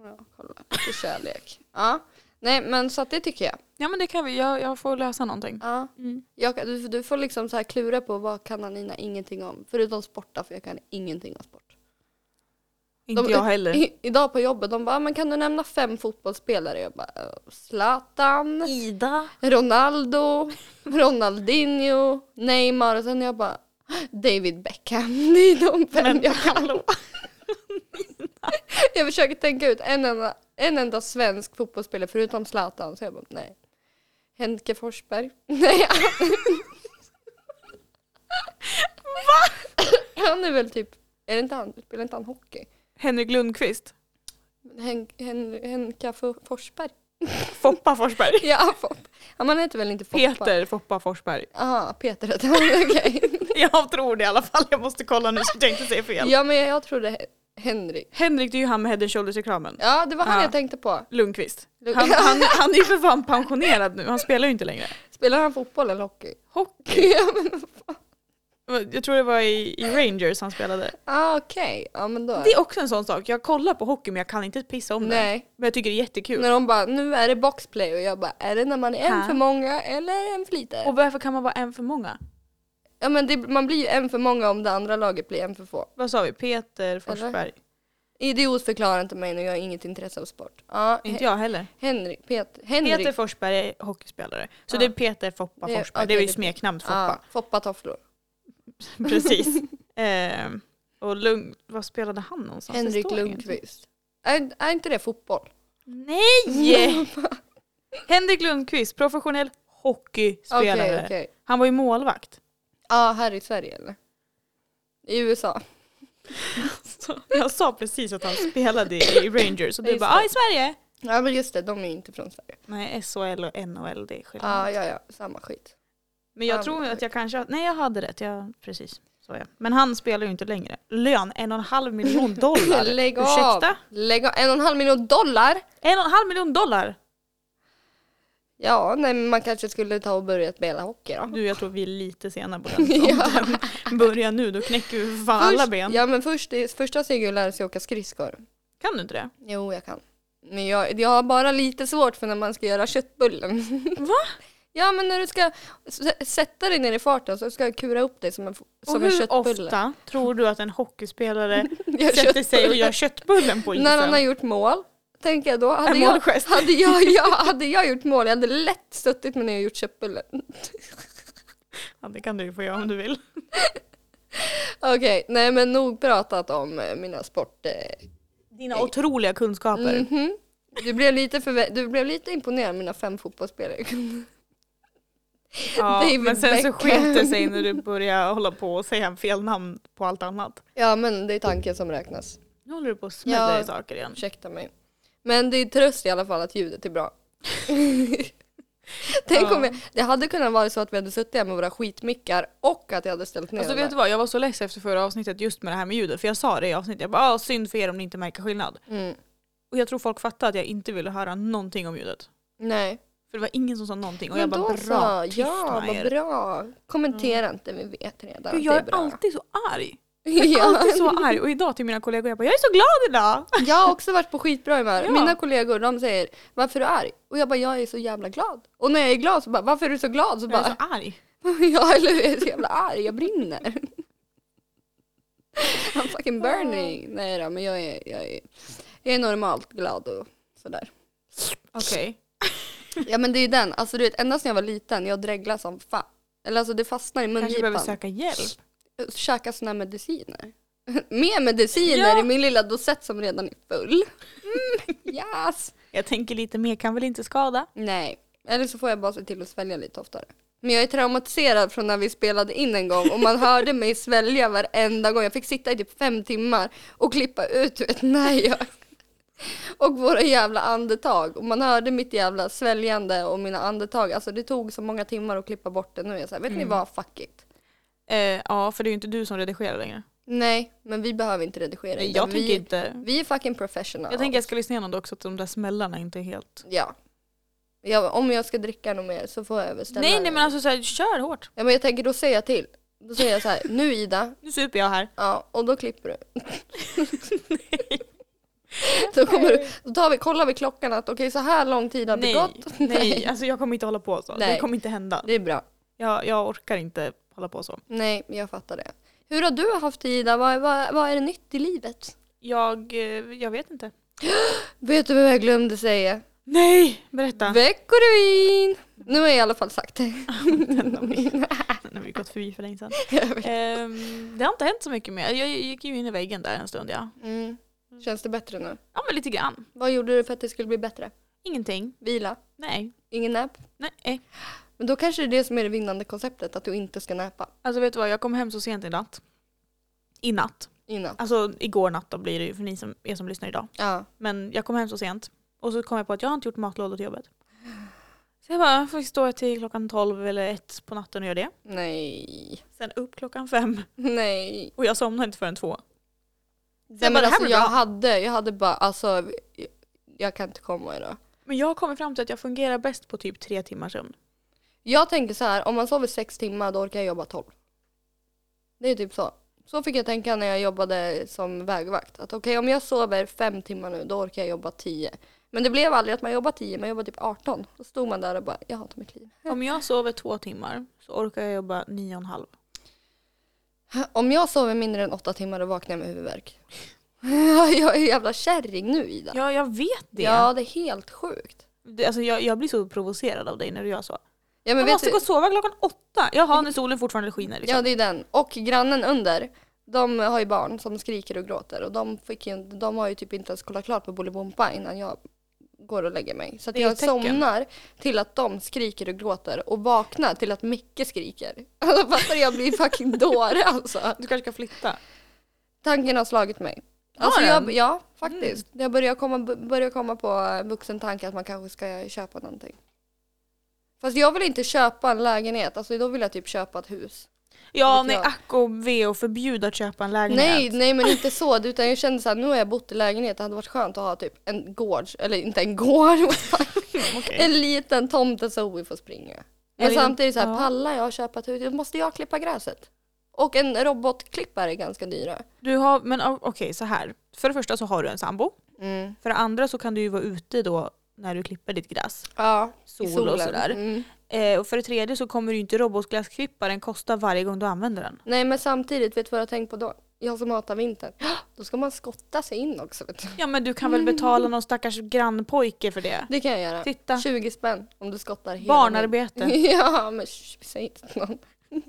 [SPEAKER 1] Ja, kolla. Det är kärlek. Ja. Nej men så att det tycker jag.
[SPEAKER 2] Ja, men det kan vi. Jag, jag får lösa någonting.
[SPEAKER 1] Ja.
[SPEAKER 2] Mm.
[SPEAKER 1] Jag, kan- du, du får liksom så här klura på vad kan Anina ingenting om. Förutom sporta för jag kan ingenting om sport.
[SPEAKER 2] Inte
[SPEAKER 1] De-
[SPEAKER 2] jag heller.
[SPEAKER 1] I, idag på jobbet, de bara, "Ah, men kan du nämna fem fotbollsspelare? Jag bara, "Eh, Zlatan,
[SPEAKER 2] *laughs* Ida.
[SPEAKER 1] Ronaldo, Ronaldinho, Neymar och sen jag bara, David Beckham. *laughs* Det är de fem
[SPEAKER 2] Men
[SPEAKER 1] jag kan.
[SPEAKER 2] hallå.
[SPEAKER 1] Jag försöker tänka ut en enda, en enda svensk fotbollsspelare förutom Zlatan. Så jag bara, nej. Henke Forsberg. *laughs* Nej. Va? Han är väl typ, är det inte han, spelar inte han hockey?
[SPEAKER 2] Henrik Lundqvist.
[SPEAKER 1] Hen, hen, Henka Fo- Forsberg.
[SPEAKER 2] Foppa Forsberg.
[SPEAKER 1] Ja, Foppa. Ja, man heter väl inte Foppa?
[SPEAKER 2] Peter *laughs* Foppa Forsberg. *laughs*
[SPEAKER 1] Jaha, Peter heter han. *laughs* Okej.
[SPEAKER 2] Jag tror det i alla fall. Jag måste kolla nu så jag inte säger fel.
[SPEAKER 1] Ja, men jag trodde He- Henrik.
[SPEAKER 2] Henrik, det är ju han med Head and Shoulders-reklamen.
[SPEAKER 1] Ja, det var han
[SPEAKER 2] Ja.
[SPEAKER 1] jag tänkte på.
[SPEAKER 2] Lundqvist.
[SPEAKER 1] Lund-
[SPEAKER 2] *laughs* Han, han, han är ju för fan pensionerad nu. Han spelar ju inte längre.
[SPEAKER 1] Spelar han fotboll eller hockey? *laughs*
[SPEAKER 2] Hockey.
[SPEAKER 1] ja, men,
[SPEAKER 2] Jag tror det var i, i Rangers han spelade.
[SPEAKER 1] ah, okej. Ja, men då.
[SPEAKER 2] Det är också en sån sak. Jag kollar på hockey men jag kan inte ett pissa om det.
[SPEAKER 1] Nej.
[SPEAKER 2] Men jag tycker det är jättekul.
[SPEAKER 1] När de bara, nu är det boxplay och jag bara, är det när man är en
[SPEAKER 2] Ja.
[SPEAKER 1] för många eller en för lite?
[SPEAKER 2] Ah. Och varför kan man vara en för många?
[SPEAKER 1] Ja, men det, man blir ju en för många om det andra laget blir en för få.
[SPEAKER 2] Vad sa vi? Peter Forsberg?
[SPEAKER 1] Idiot förklarar inte mig nu, jag har inget intresse av sport. Ja,
[SPEAKER 2] Inte jag heller.
[SPEAKER 1] Henrik, Peter, Henrik.
[SPEAKER 2] Peter Forsberg är hockeyspelare. Så
[SPEAKER 1] Ja.
[SPEAKER 2] det är Peter Foppa
[SPEAKER 1] Det-
[SPEAKER 2] Forsberg.
[SPEAKER 1] okej,
[SPEAKER 2] det är ju
[SPEAKER 1] det-
[SPEAKER 2] smeknamnet Foppa.
[SPEAKER 1] Ja,
[SPEAKER 2] *laughs*
[SPEAKER 1] Foppa tofflor.
[SPEAKER 2] Precis. *laughs* Ehm, och Lund, vad spelade han någonstans? Det
[SPEAKER 1] Henrik
[SPEAKER 2] står ingenting.
[SPEAKER 1] Lundqvist. Är, är inte det fotboll?
[SPEAKER 2] *laughs*
[SPEAKER 1] *laughs*
[SPEAKER 2] Nej! Henrik Lundqvist, professionell
[SPEAKER 1] Okej,
[SPEAKER 2] hockeyspelare.
[SPEAKER 1] okej.
[SPEAKER 2] Han var ju målvakt.
[SPEAKER 1] Ja, här i Sverige eller? I USA.
[SPEAKER 2] Så jag sa precis att han spelade
[SPEAKER 1] *coughs*
[SPEAKER 2] i Rangers och du
[SPEAKER 1] Just
[SPEAKER 2] bara
[SPEAKER 1] det.
[SPEAKER 2] ah, i Sverige.
[SPEAKER 1] Ja, men just det, de är ju inte från Sverige.
[SPEAKER 2] Nej, SHL och NHL det är skillnad.
[SPEAKER 1] Ja, ja, ja, samma skit.
[SPEAKER 2] Men jag
[SPEAKER 1] Ja,
[SPEAKER 2] tror
[SPEAKER 1] men-
[SPEAKER 2] att jag kanske, nej jag hade rätt, jag, precis. Så ja. Men han spelar ju inte längre. Lön en och en
[SPEAKER 1] *laughs*
[SPEAKER 2] halv miljon dollar.
[SPEAKER 1] Lägg av!
[SPEAKER 2] Ursäkta?
[SPEAKER 1] Lägg av. En och en halv miljon dollar?
[SPEAKER 2] En och en halv miljon dollar!
[SPEAKER 1] Ja, nej, men man kanske skulle ta och börja spela hockey då.
[SPEAKER 2] Du jag tror vi är lite sena på den.
[SPEAKER 1] *laughs*
[SPEAKER 2] Om den börjar nu då knäcker vi för fan alla
[SPEAKER 1] Först-
[SPEAKER 2] ben.
[SPEAKER 1] Ja, men först, det första steget är att lära sig åka skridskor.
[SPEAKER 2] Kan du inte det?
[SPEAKER 1] Jo, jag kan. Men jag, jag har bara lite svårt för när man ska göra köttbullen. *laughs*
[SPEAKER 2] Va?
[SPEAKER 1] Ja, men när du ska s- sätta dig ner i farten så ska jag kura upp dig som en, f-
[SPEAKER 2] Och
[SPEAKER 1] som en
[SPEAKER 2] hur
[SPEAKER 1] köttbulle.
[SPEAKER 2] *laughs* ofta tror du att
[SPEAKER 1] *laughs*
[SPEAKER 2] en hockeyspelare
[SPEAKER 1] Gör
[SPEAKER 2] sätter sig och
[SPEAKER 1] köttbullar.
[SPEAKER 2] gör köttbullen på isen?
[SPEAKER 1] När han har gjort mål, tänker jag då, hade
[SPEAKER 2] En
[SPEAKER 1] jag,
[SPEAKER 2] målgest.
[SPEAKER 1] hade,
[SPEAKER 2] *laughs*
[SPEAKER 1] jag, jag, hade jag gjort mål, jag hade lätt suttit med när jag gjort köttbullen.
[SPEAKER 2] Ja, det kan du ju få göra om du vill.
[SPEAKER 1] Okej, nej men nog pratat om eh, mina sporter.
[SPEAKER 2] Dina otroliga kunskaper.
[SPEAKER 1] Mhm. Du, blev lite förvä- du blev lite imponerad av mina fem fotbollsspelare. *laughs*
[SPEAKER 2] Ja,
[SPEAKER 1] David
[SPEAKER 2] men sen så
[SPEAKER 1] Beckham.
[SPEAKER 2] sket det sig när du började hålla på och säga fel namn på allt annat.
[SPEAKER 1] Ja men det är tanken som räknas.
[SPEAKER 2] Nu håller du på och smäller
[SPEAKER 1] Ja.
[SPEAKER 2] i saker igen.
[SPEAKER 1] Ursäkta mig. Men det är tröst i alla fall att ljudet är bra. *laughs* Tänk om jag, det hade kunnat vara så att vi hade suttit här med våra skitmickar och att jag hade ställt ner
[SPEAKER 2] Alltså
[SPEAKER 1] dem
[SPEAKER 2] vet du
[SPEAKER 1] där.
[SPEAKER 2] vad, jag var så less efter förra avsnittet just med det här med ljudet. För jag sa det i avsnittet, jag bara "Ah, synd för er om ni inte märker skillnad.
[SPEAKER 1] Mm.
[SPEAKER 2] Och jag tror folk fattade att jag inte ville höra någonting om ljudet.
[SPEAKER 1] Nej.
[SPEAKER 2] För det var ingen som sa någonting och
[SPEAKER 1] Men
[SPEAKER 2] jag
[SPEAKER 1] då
[SPEAKER 2] bara
[SPEAKER 1] så,
[SPEAKER 2] bra, tyst
[SPEAKER 1] Ja,
[SPEAKER 2] med
[SPEAKER 1] vad
[SPEAKER 2] er.
[SPEAKER 1] bra. Kommentera inte, vi vet redan
[SPEAKER 2] Gud,
[SPEAKER 1] att
[SPEAKER 2] jag
[SPEAKER 1] det
[SPEAKER 2] är
[SPEAKER 1] är bra. *laughs*
[SPEAKER 2] alltid så arg.
[SPEAKER 1] ja.
[SPEAKER 2] Alltid så arg. Och idag till mina kollegor, jag bara jag är så glad idag.
[SPEAKER 1] Jag har också varit på skitbra humör.
[SPEAKER 2] Ja.
[SPEAKER 1] Mina kollegor de säger varför är du arg? Och jag bara jag är så jävla glad. Och när jag är glad så bara varför är du så glad? Så
[SPEAKER 2] Jag är så
[SPEAKER 1] bara
[SPEAKER 2] arg.
[SPEAKER 1] *laughs* ja eller hur? jag är så jävla arg, jag brinner. I'm fucking burning. Nej då, men jag är, jag är, jag är normalt glad och sådär.
[SPEAKER 2] Okej.
[SPEAKER 1] Ja men det är ju den, alltså du vet endast när jag var liten, jag dreglade som fan. Eller alltså det fastnar i
[SPEAKER 2] Kanske behöver
[SPEAKER 1] mungipan.
[SPEAKER 2] söka hjälp.
[SPEAKER 1] Käka såna här mediciner. *laughs* Med mediciner
[SPEAKER 2] Ja.
[SPEAKER 1] i min lilla dosett som redan är full. Mm, yes!
[SPEAKER 2] Jag tänker lite mer kan väl inte skada.
[SPEAKER 1] Nej, eller så får jag bara se till att svälja lite oftare. Men jag är traumatiserad från när vi spelade in en gång och man hörde mig svälja varenda gång. Jag fick sitta i typ fem timmar och klippa ut du vet, när jag... Och våra jävla andetag. Och man hörde mitt jävla sväljande och mina andetag. Alltså det tog så många timmar att klippa bort det. Nu är jag så här, vet
[SPEAKER 2] Mm.
[SPEAKER 1] ni vad, fuck it.
[SPEAKER 2] Eh, ja, för det är ju inte du som redigerar längre.
[SPEAKER 1] Nej, men vi behöver inte redigera.
[SPEAKER 2] Nej,
[SPEAKER 1] utan
[SPEAKER 2] jag
[SPEAKER 1] vi,
[SPEAKER 2] tänker inte.
[SPEAKER 1] vi är fucking professional.
[SPEAKER 2] Jag tänker jag ska lyssna igenom det också, att de där smällarna inte är helt...
[SPEAKER 1] Ja. ja. Om jag ska dricka något mer så får jag överställa.
[SPEAKER 2] Nej,
[SPEAKER 1] det.
[SPEAKER 2] nej men alltså så här, kör hårt.
[SPEAKER 1] Ja men jag tänker då säger jag till. Då säger jag så här, nu Ida,
[SPEAKER 2] Nu super jag här.
[SPEAKER 1] ja och då klipper du. då, kommer du då tar vi, kollar vi klockan att okej så här lång tid har det
[SPEAKER 2] *laughs* Nej,
[SPEAKER 1] gått.
[SPEAKER 2] nej, alltså jag kommer inte hålla på så.
[SPEAKER 1] Nej.
[SPEAKER 2] Det kommer inte hända.
[SPEAKER 1] Det är bra.
[SPEAKER 2] Jag, jag orkar inte hålla på så.
[SPEAKER 1] Nej, jag fattar det. Hur har du haft det Ida? Vad, vad, vad är det nytt i livet?
[SPEAKER 2] Jag, eh, jag vet inte.
[SPEAKER 1] Vet du vad jag glömde säga?
[SPEAKER 2] Nej! Berätta.
[SPEAKER 1] Veckorevyn! Nu har jag i alla fall sagt det.
[SPEAKER 2] *laughs* Den har vi, den har vi gått förbi för
[SPEAKER 1] *laughs*
[SPEAKER 2] länge sedan. Ehm, det har inte hänt så mycket mer. Jag gick ju in i väggen där en stund ja.
[SPEAKER 1] Mm. Känns det bättre nu?
[SPEAKER 2] Ja men lite grann.
[SPEAKER 1] Vad gjorde du för att det skulle bli bättre?
[SPEAKER 2] Ingenting.
[SPEAKER 1] Vila?
[SPEAKER 2] Nej.
[SPEAKER 1] Ingen nap?
[SPEAKER 2] Nej.
[SPEAKER 1] Men då kanske det är det som är det vinnande konceptet, att du inte ska näpa
[SPEAKER 2] Alltså vet du vad, jag kom hem så sent i natt. I natt.
[SPEAKER 1] innan.
[SPEAKER 2] Alltså igår natt då blir det ju för ni som, er som lyssnar idag.
[SPEAKER 1] Ja.
[SPEAKER 2] Men jag kom hem så sent. Och så kom jag på att jag har inte gjort matlådor till jobbet. Så jag bara, får stå till klockan 12 eller 1 på natten och göra det.
[SPEAKER 1] Nej.
[SPEAKER 2] Sen upp klockan 5
[SPEAKER 1] Nej.
[SPEAKER 2] och jag somnade inte förrän 2.
[SPEAKER 1] Nej
[SPEAKER 2] bara,
[SPEAKER 1] men
[SPEAKER 2] det här
[SPEAKER 1] alltså,
[SPEAKER 2] blir
[SPEAKER 1] jag,
[SPEAKER 2] bra.
[SPEAKER 1] hade, jag hade bara, alltså jag- jag kan inte komma idag.
[SPEAKER 2] Men jag har kommit fram till att jag fungerar bäst på typ tre timmar sömn.
[SPEAKER 1] Jag tänker så här, om man sover sex timmar då orkar jag jobba tolv. Det är typ så. Så fick jag tänka när jag jobbade som vägvakt. Att okej om jag sover fem timmar nu då orkar jag jobba tio. Men det blev aldrig att man jobbade tio, man jobbade typ 18. Då stod man där och bara, jag hatar mitt liv.
[SPEAKER 2] Om jag sover två timmar så orkar jag jobba nio och en halv.
[SPEAKER 1] Om jag sover mindre än åtta timmar då vaknar jag med huvudvärk. *laughs* jag är en jävla kärring nu Ida.
[SPEAKER 2] Ja, jag vet det.
[SPEAKER 1] Ja, det är helt sjukt.
[SPEAKER 2] det alltså, jag, jag blir så provocerad av dig när du gör så.
[SPEAKER 1] Ja, men
[SPEAKER 2] Jag
[SPEAKER 1] vet
[SPEAKER 2] måste
[SPEAKER 1] du-
[SPEAKER 2] gå och sova klockan åtta. Jaha, när solen fortfarande skiner. Liksom.
[SPEAKER 1] Ja det är den. Och grannen under, de har ju barn som skriker och gråter och de, fick ju, inte- de har ju typ inte ens kollat klart på Bolibompa innan jag går och lägger mig. Så att
[SPEAKER 2] Det är
[SPEAKER 1] jag
[SPEAKER 2] ett tecken.
[SPEAKER 1] somnar till att de skriker och gråter och vaknar till att Micke skriker. *laughs* Alltså fattar du? jag blir fucking dåre alltså.
[SPEAKER 2] Du kanske ska flytta?
[SPEAKER 1] Tanken har slagit mig.
[SPEAKER 2] Har
[SPEAKER 1] Alltså jag,
[SPEAKER 2] den? Mm.
[SPEAKER 1] ja, faktiskt. Jag börjar komma, börjar komma på vuxen tanke att man kanske ska köpa någonting. Fast jag vill inte köpa en lägenhet, alltså då vill jag typ köpa ett hus.
[SPEAKER 2] Ja,
[SPEAKER 1] Det
[SPEAKER 2] nej
[SPEAKER 1] tror jag.
[SPEAKER 2] ack och ve och förbjuda att köpa en lägenhet.
[SPEAKER 1] Nej, nej men inte så. Utan jag kände så här, nu har jag bott i lägenhet, det hade varit skönt att ha typ en gård, eller inte en gård, *laughs* vad fan.
[SPEAKER 2] *laughs* Okej.
[SPEAKER 1] en liten tomte så vi får springa.
[SPEAKER 2] Är
[SPEAKER 1] Men
[SPEAKER 2] det-
[SPEAKER 1] samtidigt så här,
[SPEAKER 2] ja.
[SPEAKER 1] pallar jag köpa ett hus, då måste jag klippa gräset. Och en robotklippare är ganska dyra.
[SPEAKER 2] Du har, men o- okej så här. För det första så har du en sambo.
[SPEAKER 1] Mm.
[SPEAKER 2] För det andra så kan du ju vara ute då när du klipper ditt gräs.
[SPEAKER 1] Ja,
[SPEAKER 2] Sol
[SPEAKER 1] i
[SPEAKER 2] och
[SPEAKER 1] solen.
[SPEAKER 2] sådär.
[SPEAKER 1] Mm.
[SPEAKER 2] Eh, och för det tredje så kommer ju inte robotgräsklipparen kosta varje gång du använder den.
[SPEAKER 1] Nej men samtidigt, vet du vad jag har tänkt på då? Jag som hatar vintern. *gasps* Då ska man skotta sig in också. Vet du.
[SPEAKER 2] Ja men du kan väl betala någon stackars grannpojke för det?
[SPEAKER 1] Det kan jag göra.
[SPEAKER 2] Titta,
[SPEAKER 1] 20 spänn om du skottar hela
[SPEAKER 2] *laughs* barnarbete.
[SPEAKER 1] min- *laughs* Ja men sh, säg inte till någon.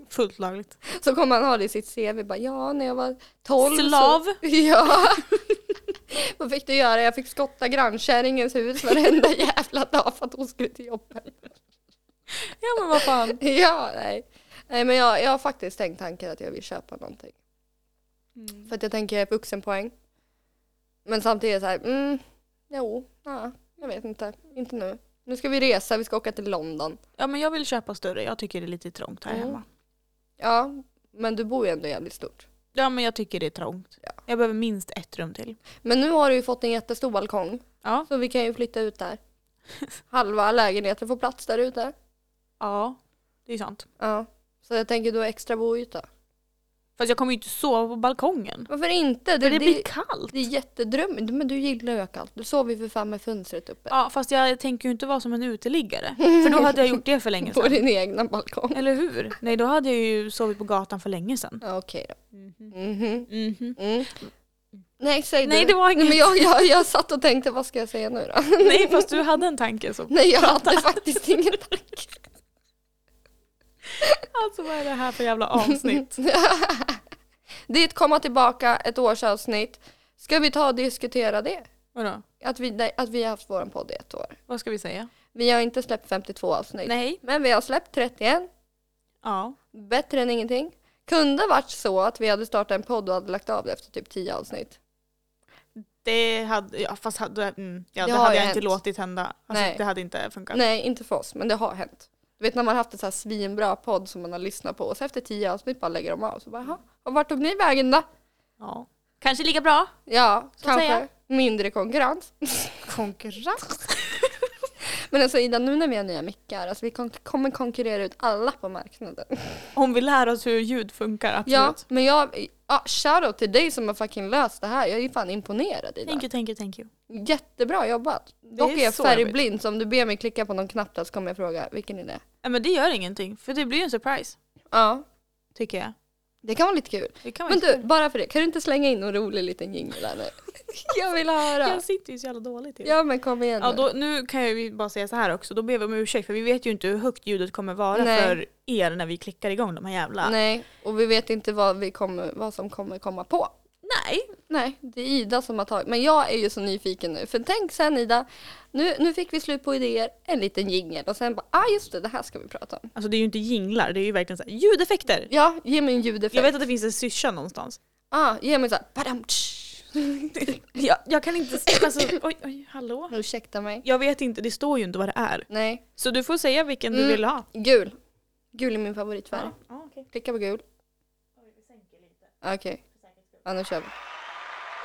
[SPEAKER 2] Fullt lagligt.
[SPEAKER 1] Så kommer han ha det i sitt CV. Bara, ja, när jag var 12
[SPEAKER 2] Slav.
[SPEAKER 1] Så, *laughs* ja. Vad fick du göra? Jag fick skotta grannkärringens hus varenda jävla dag för att hon skulle till jobbet.
[SPEAKER 2] Ja men vad fan.
[SPEAKER 1] Ja, nej. Nej, men jag, jag har faktiskt tänkt tanken att jag vill köpa någonting.
[SPEAKER 2] Mm.
[SPEAKER 1] För att jag tänker jag är vuxenpoäng. Men samtidigt så här, mm, jo, ja, jag vet inte. Inte nu. Nu ska vi resa, vi ska åka till London.
[SPEAKER 2] Ja men jag vill köpa större, jag tycker det är lite trångt här
[SPEAKER 1] Mm.
[SPEAKER 2] hemma.
[SPEAKER 1] Ja, men du bor ju ändå jävligt stort.
[SPEAKER 2] Ja men jag tycker det är trångt. Jag behöver minst ett rum till.
[SPEAKER 1] Men nu har du ju fått en jättestor balkong.
[SPEAKER 2] Ja.
[SPEAKER 1] Så vi kan ju flytta ut där. Halva lägenheten får plats där ute.
[SPEAKER 2] Ja, det är sant.
[SPEAKER 1] Ja. Så jag tänker du har extra boyta.
[SPEAKER 2] Fast jag kommer ju inte sova på balkongen.
[SPEAKER 1] Varför inte? Det, det,
[SPEAKER 2] För det blir kallt.
[SPEAKER 1] det är jättedrömmigt. Men du gillar ju kallt. Du sover ju för fan med fönstret uppe.
[SPEAKER 2] Ja fast jag tänker ju inte vara som
[SPEAKER 1] *laughs*
[SPEAKER 2] en uteliggare. För då hade jag gjort det för länge
[SPEAKER 1] På
[SPEAKER 2] sedan.
[SPEAKER 1] din egna balkong.
[SPEAKER 2] Eller hur? Nej då
[SPEAKER 1] Mm-hmm.
[SPEAKER 2] hade jag ju sovit på gatan för länge sedan.
[SPEAKER 1] Ja, okej då. Mhm.
[SPEAKER 2] Mhm.
[SPEAKER 1] Mm. Nej, säg
[SPEAKER 2] Nej,
[SPEAKER 1] du.
[SPEAKER 2] det var
[SPEAKER 1] Nej, *laughs*
[SPEAKER 2] inget.
[SPEAKER 1] men jag, jag, jag satt och tänkte, vad ska jag säga nu då? *laughs*
[SPEAKER 2] Nej fast du hade en tanke som,
[SPEAKER 1] Nej, jag hade faktiskt ingen tanke.
[SPEAKER 2] alltså vad är det här för jävla
[SPEAKER 1] *laughs*
[SPEAKER 2] avsnitt?
[SPEAKER 1] det är ett komma tillbaka, ett årsavsnitt. Ska vi ta och diskutera det?
[SPEAKER 2] Vadå?
[SPEAKER 1] Att vi, nej, att vi har haft vår podd i ett år.
[SPEAKER 2] Vad ska vi säga?
[SPEAKER 1] Vi har inte släppt 52 avsnitt.
[SPEAKER 2] Nej.
[SPEAKER 1] Men vi har släppt 31.
[SPEAKER 2] Ja.
[SPEAKER 1] Bättre än ingenting. Kunde varit så att vi hade startat en podd och hade lagt av det efter typ 10 avsnitt.
[SPEAKER 2] Det hade, ja, fast hade, mm, ja,
[SPEAKER 1] Det
[SPEAKER 2] det
[SPEAKER 1] har
[SPEAKER 2] hade
[SPEAKER 1] ju
[SPEAKER 2] jag inte
[SPEAKER 1] hänt.
[SPEAKER 2] låtit hända. Alltså,
[SPEAKER 1] Nej.
[SPEAKER 2] Det hade inte funkat.
[SPEAKER 1] Nej, inte för oss, men det har hänt. Du vet när man har haft en så här svinbra podd som man har lyssnat på och så efter 10 avsnitt bara lägger de av. Så bara, "Jaha, och vart tog ni vägen då?
[SPEAKER 2] Ja. Kanske lika bra.
[SPEAKER 1] Ja,
[SPEAKER 2] Så
[SPEAKER 1] kanske
[SPEAKER 2] säga.
[SPEAKER 1] mindre konkurrens. *laughs*
[SPEAKER 2] Konkurrens.
[SPEAKER 1] Men alltså Ida, nu när vi har nya mickar, alltså vi kon- kommer konkurrera ut alla på marknaden.
[SPEAKER 2] Om vi lär oss hur ljud funkar,
[SPEAKER 1] Ja,
[SPEAKER 2] absolut.
[SPEAKER 1] men jag, ja, shoutout till dig som har fucking löst det här. Jag är ju fan imponerad Ida.
[SPEAKER 2] Thank you, thank you, thank you.
[SPEAKER 1] Jättebra jobbat. Dock
[SPEAKER 2] är
[SPEAKER 1] är jag
[SPEAKER 2] så jobbigt.
[SPEAKER 1] färgblind så om du ber mig klicka på någon knapp där så kommer jag fråga vilken är det?
[SPEAKER 2] Ja, men det gör ingenting, för det blir ju en surprise,
[SPEAKER 1] Ja,
[SPEAKER 2] tycker jag.
[SPEAKER 1] det kan vara lite kul.
[SPEAKER 2] Det kan vara
[SPEAKER 1] Men
[SPEAKER 2] lite
[SPEAKER 1] du, bara för det, kan du inte slänga in någon rolig liten jingle där
[SPEAKER 2] *laughs*
[SPEAKER 1] nu? Jag vill
[SPEAKER 2] kul.
[SPEAKER 1] höra.
[SPEAKER 2] jag sitter ju så jävla dåligt till.
[SPEAKER 1] Ja men kom igen
[SPEAKER 2] Ja,
[SPEAKER 1] nu.
[SPEAKER 2] då, nu kan jag ju bara säga så här också, då ber vi om ursäkt för vi vet ju inte hur högt ljudet kommer vara
[SPEAKER 1] Nej.
[SPEAKER 2] för er när vi klickar igång de här jävla...
[SPEAKER 1] Nej, och vi vet inte vad, vi kommer, vad som kommer komma på.
[SPEAKER 2] Nej.
[SPEAKER 1] Nej, det är Ida som har tagit. Men jag är ju så nyfiken nu. För tänk sen Ida, nu, nu fick vi slut på idéer, en liten jingel och sen bara, ah just det, det här ska vi prata om.
[SPEAKER 2] Alltså det är ju inte jinglar, det är ju verkligen så här, ljudeffekter!
[SPEAKER 1] Ja, ge mig en ljudeffekt.
[SPEAKER 2] Jag vet att det finns en syrsa någonstans.
[SPEAKER 1] Ah, ge mig såhär, badam tsch. *laughs*
[SPEAKER 2] Jag, jag kan inte... Alltså, oj, oj, hallå?
[SPEAKER 1] Ursäkta mig.
[SPEAKER 2] Jag vet inte, det står ju inte vad det är.
[SPEAKER 1] Nej,
[SPEAKER 2] Så du får säga vilken du
[SPEAKER 1] Mm.
[SPEAKER 2] vill ha.
[SPEAKER 1] gul. Gul är min favoritfärg.
[SPEAKER 2] Ja, okej.
[SPEAKER 1] Klicka på gul. Ah, Okej. Ja, nu kör vi.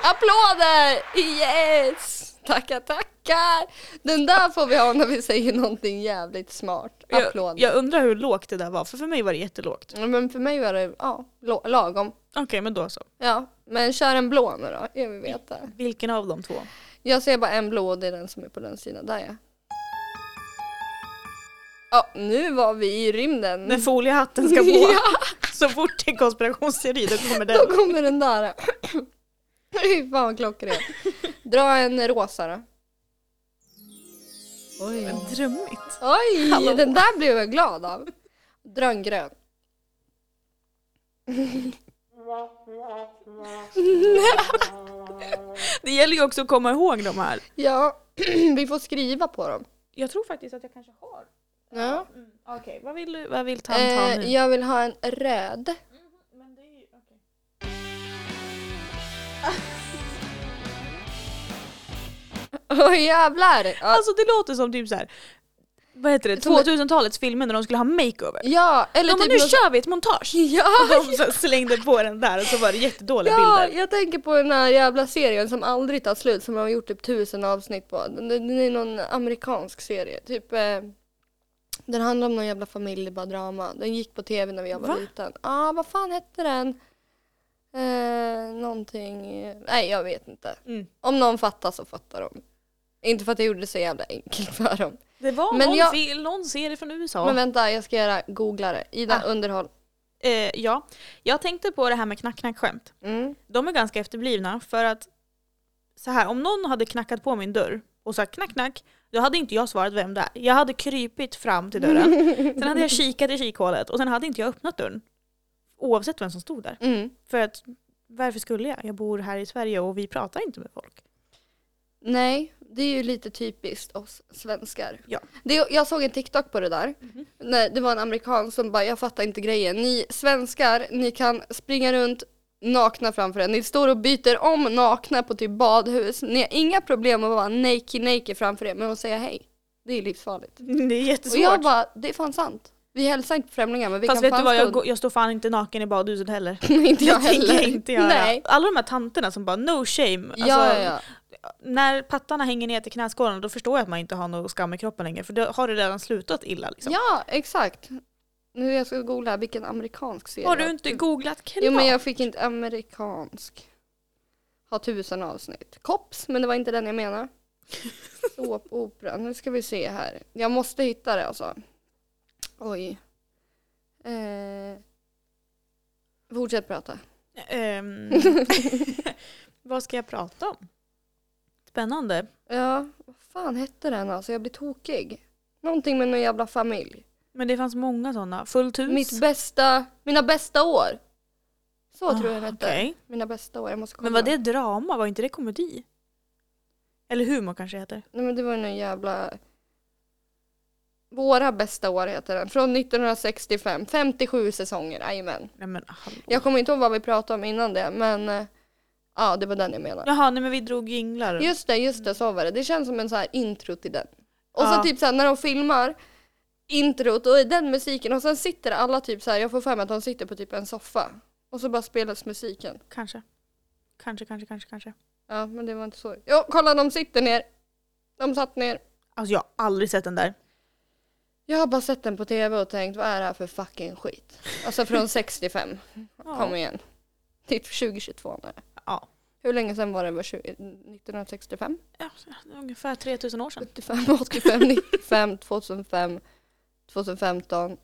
[SPEAKER 1] Applåder! Yes! Tackar, tackar! Den där får vi ha när vi säger någonting jävligt smart.
[SPEAKER 2] jag,
[SPEAKER 1] Applåder.
[SPEAKER 2] jag undrar hur lågt det där var, för för mig var det jättelågt.
[SPEAKER 1] Ja, Men för mig var det ja, lo- lagom.
[SPEAKER 2] Okej, men då så.
[SPEAKER 1] Ja, men kör en blå nu då. Jag vill veta.
[SPEAKER 2] Vilken av de
[SPEAKER 1] Mm.
[SPEAKER 2] två?
[SPEAKER 1] Jag ser bara en blå och det är den som är på den sidan. Där ja. Ja, nu var vi i rymden.
[SPEAKER 2] När
[SPEAKER 1] *laughs*
[SPEAKER 2] foliehatten ska på. Så fort det är konspirationsteori då kommer den.
[SPEAKER 1] Då kommer den där. *clears throat* Fy fan vad klockren. Dra en rosa då. Oj.
[SPEAKER 2] Drömmigt.
[SPEAKER 1] Oj,
[SPEAKER 2] Hallå.
[SPEAKER 1] den där blev jag glad av. Dra en grön.
[SPEAKER 2] Det gäller ju också att komma ihåg de här.
[SPEAKER 1] Ja, *clears throat* vi får skriva på dem.
[SPEAKER 2] Jag tror faktiskt att jag kanske har.
[SPEAKER 1] Ja.
[SPEAKER 2] Mm. Okej, vad vill, du- vad vill tant ha nu?
[SPEAKER 1] Eh, jag vill ha en röd.
[SPEAKER 2] Men det är ju, okej.
[SPEAKER 1] Oj jävlar! Ja.
[SPEAKER 2] Alltså det låter som typ så här. vad heter det,
[SPEAKER 1] Som-
[SPEAKER 2] 2000-talets filmer när de skulle ha makeover.
[SPEAKER 1] ja, eller
[SPEAKER 2] Ja men
[SPEAKER 1] typ
[SPEAKER 2] nu
[SPEAKER 1] någon-
[SPEAKER 2] kör vi ett
[SPEAKER 1] *laughs*
[SPEAKER 2] montage!
[SPEAKER 1] Ja,
[SPEAKER 2] Och de så slängde på den där och så var det jättedåliga
[SPEAKER 1] ja,
[SPEAKER 2] bilder.
[SPEAKER 1] jag tänker på den här jävla serien som aldrig tar slut som de har gjort typ tusen avsnitt på. Den, den är någon amerikansk serie. Typ, eh, den handlar om någon jävla familjedrama. Den gick på tv när jag var
[SPEAKER 2] Va?
[SPEAKER 1] liten. Ja, ah, vad fan hette den? Eh, någonting... Nej, jag vet inte.
[SPEAKER 2] Mm.
[SPEAKER 1] Om någon fattar så fattar de. Inte för att jag gjorde det så jävla enkelt för dem.
[SPEAKER 2] Det var
[SPEAKER 1] Men
[SPEAKER 2] någon,
[SPEAKER 1] jag-
[SPEAKER 2] fil, någon serie från USA.
[SPEAKER 1] Men vänta, jag ska göra googlare. Ida,
[SPEAKER 2] Ah.
[SPEAKER 1] underhåll.
[SPEAKER 2] Eh, ja, jag tänkte på det här med knack-knack-skämt.
[SPEAKER 1] Mm.
[SPEAKER 2] De är ganska efterblivna för att så här, om någon hade knackat på min dörr och sagt knack-knack, då hade inte jag svarat vem det är. Jag hade krypit fram till dörren,
[SPEAKER 1] *laughs*
[SPEAKER 2] sen hade jag kikat i kikhålet och sen hade inte jag öppnat dörren. Oavsett vem som stod där.
[SPEAKER 1] Mm.
[SPEAKER 2] För att varför skulle jag? Jag bor här i Sverige och vi pratar inte med folk. *laughs*
[SPEAKER 1] Nej, det är ju lite typiskt oss svenskar.
[SPEAKER 2] Ja. Mhm.
[SPEAKER 1] Det, jag såg en TikTok på det där. När det var en amerikan som bara, jag fattar inte grejen. Ni svenskar, ni kan springa runt nakna framför en. Ni står och byter om nakna på typ badhus. Ni har inga problem att vara naked naked framför er, men att säga hej. Det är livsfarligt.
[SPEAKER 2] Det är jättesvårt.
[SPEAKER 1] Och jag bara, det är fan sant. Vi hälsar inte på främlingar, men vi
[SPEAKER 2] Fast
[SPEAKER 1] kan
[SPEAKER 2] vet
[SPEAKER 1] fan
[SPEAKER 2] du vad,
[SPEAKER 1] stå
[SPEAKER 2] jag, går- jag står fan inte naken i badhuset
[SPEAKER 1] *laughs*
[SPEAKER 2] heller.
[SPEAKER 1] inte jag
[SPEAKER 2] *laughs* Det tänker
[SPEAKER 1] heller.
[SPEAKER 2] jag inte göra.
[SPEAKER 1] Nej.
[SPEAKER 2] Alla de här tanterna som bara no shame. Alltså,
[SPEAKER 1] ja, ja, ja.
[SPEAKER 2] När pattarna hänger ner till knäskålarna då förstår jag att man inte har någon skam i kroppen längre för då har det redan slutat illa. Liksom.
[SPEAKER 1] ja, exakt. Nu jag ska googla här, vilken amerikansk serie.
[SPEAKER 2] har
[SPEAKER 1] det
[SPEAKER 2] du
[SPEAKER 1] var.
[SPEAKER 2] inte googlat klart?
[SPEAKER 1] Jo men jag fick inte amerikansk. Har tusen avsnitt. Kops, men det var inte den jag
[SPEAKER 2] *laughs*
[SPEAKER 1] menade. Såpopera, nu ska vi se här. Jag måste hitta det alltså. Oj. *laughs* Eh. Fortsätt prata.
[SPEAKER 2] Ehm, Vad ska jag prata om? Spännande.
[SPEAKER 1] Ja, vad fan hette den alltså? Jag blir tokig. Någonting med någon jävla familj.
[SPEAKER 2] Men det fanns många sådana. Fullt hus?
[SPEAKER 1] Mitt bästa, mina bästa år. Så
[SPEAKER 2] Ah,
[SPEAKER 1] tror jag den hette.
[SPEAKER 2] okej.
[SPEAKER 1] Mina bästa år, jag måste kolla.
[SPEAKER 2] Men var det drama? Var inte det komedi? Eller humor kanske det heter.
[SPEAKER 1] Nej men det var ju någon jävla... Våra bästa år heter den. Från 1965. 57 säsonger, jajamän.
[SPEAKER 2] Nej men hallå.
[SPEAKER 1] Jag kommer inte ihåg vad vi pratade om innan det men eh, ja, det var den jag menade.
[SPEAKER 2] Jaha, nej men vi drog jinglar.
[SPEAKER 1] Just det, just det, så var det. Det känns som en så här intro till den. Och
[SPEAKER 2] Ja.
[SPEAKER 1] så typ så här, när de filmar introt och i den musiken och sen sitter alla typ så här, jag får för mig att de sitter på typ en soffa. Och så bara spelas musiken.
[SPEAKER 2] Kanske. Kanske, kanske, kanske, kanske.
[SPEAKER 1] Ja, men det var inte så. Jo, kolla de sitter ner. De satt ner.
[SPEAKER 2] Alltså jag har aldrig sett den där.
[SPEAKER 1] Jag har bara sett den på tv och tänkt vad är det här för fucking skit? Alltså från 65, kom
[SPEAKER 2] Ja.
[SPEAKER 1] igen. Typ 2022 nu.
[SPEAKER 2] ja.
[SPEAKER 1] Hur länge sedan var det? Var 20, 1965?
[SPEAKER 2] Ja, så- Ungefär 3000 år sedan.
[SPEAKER 1] 75, 85, 95, 2005, 2015,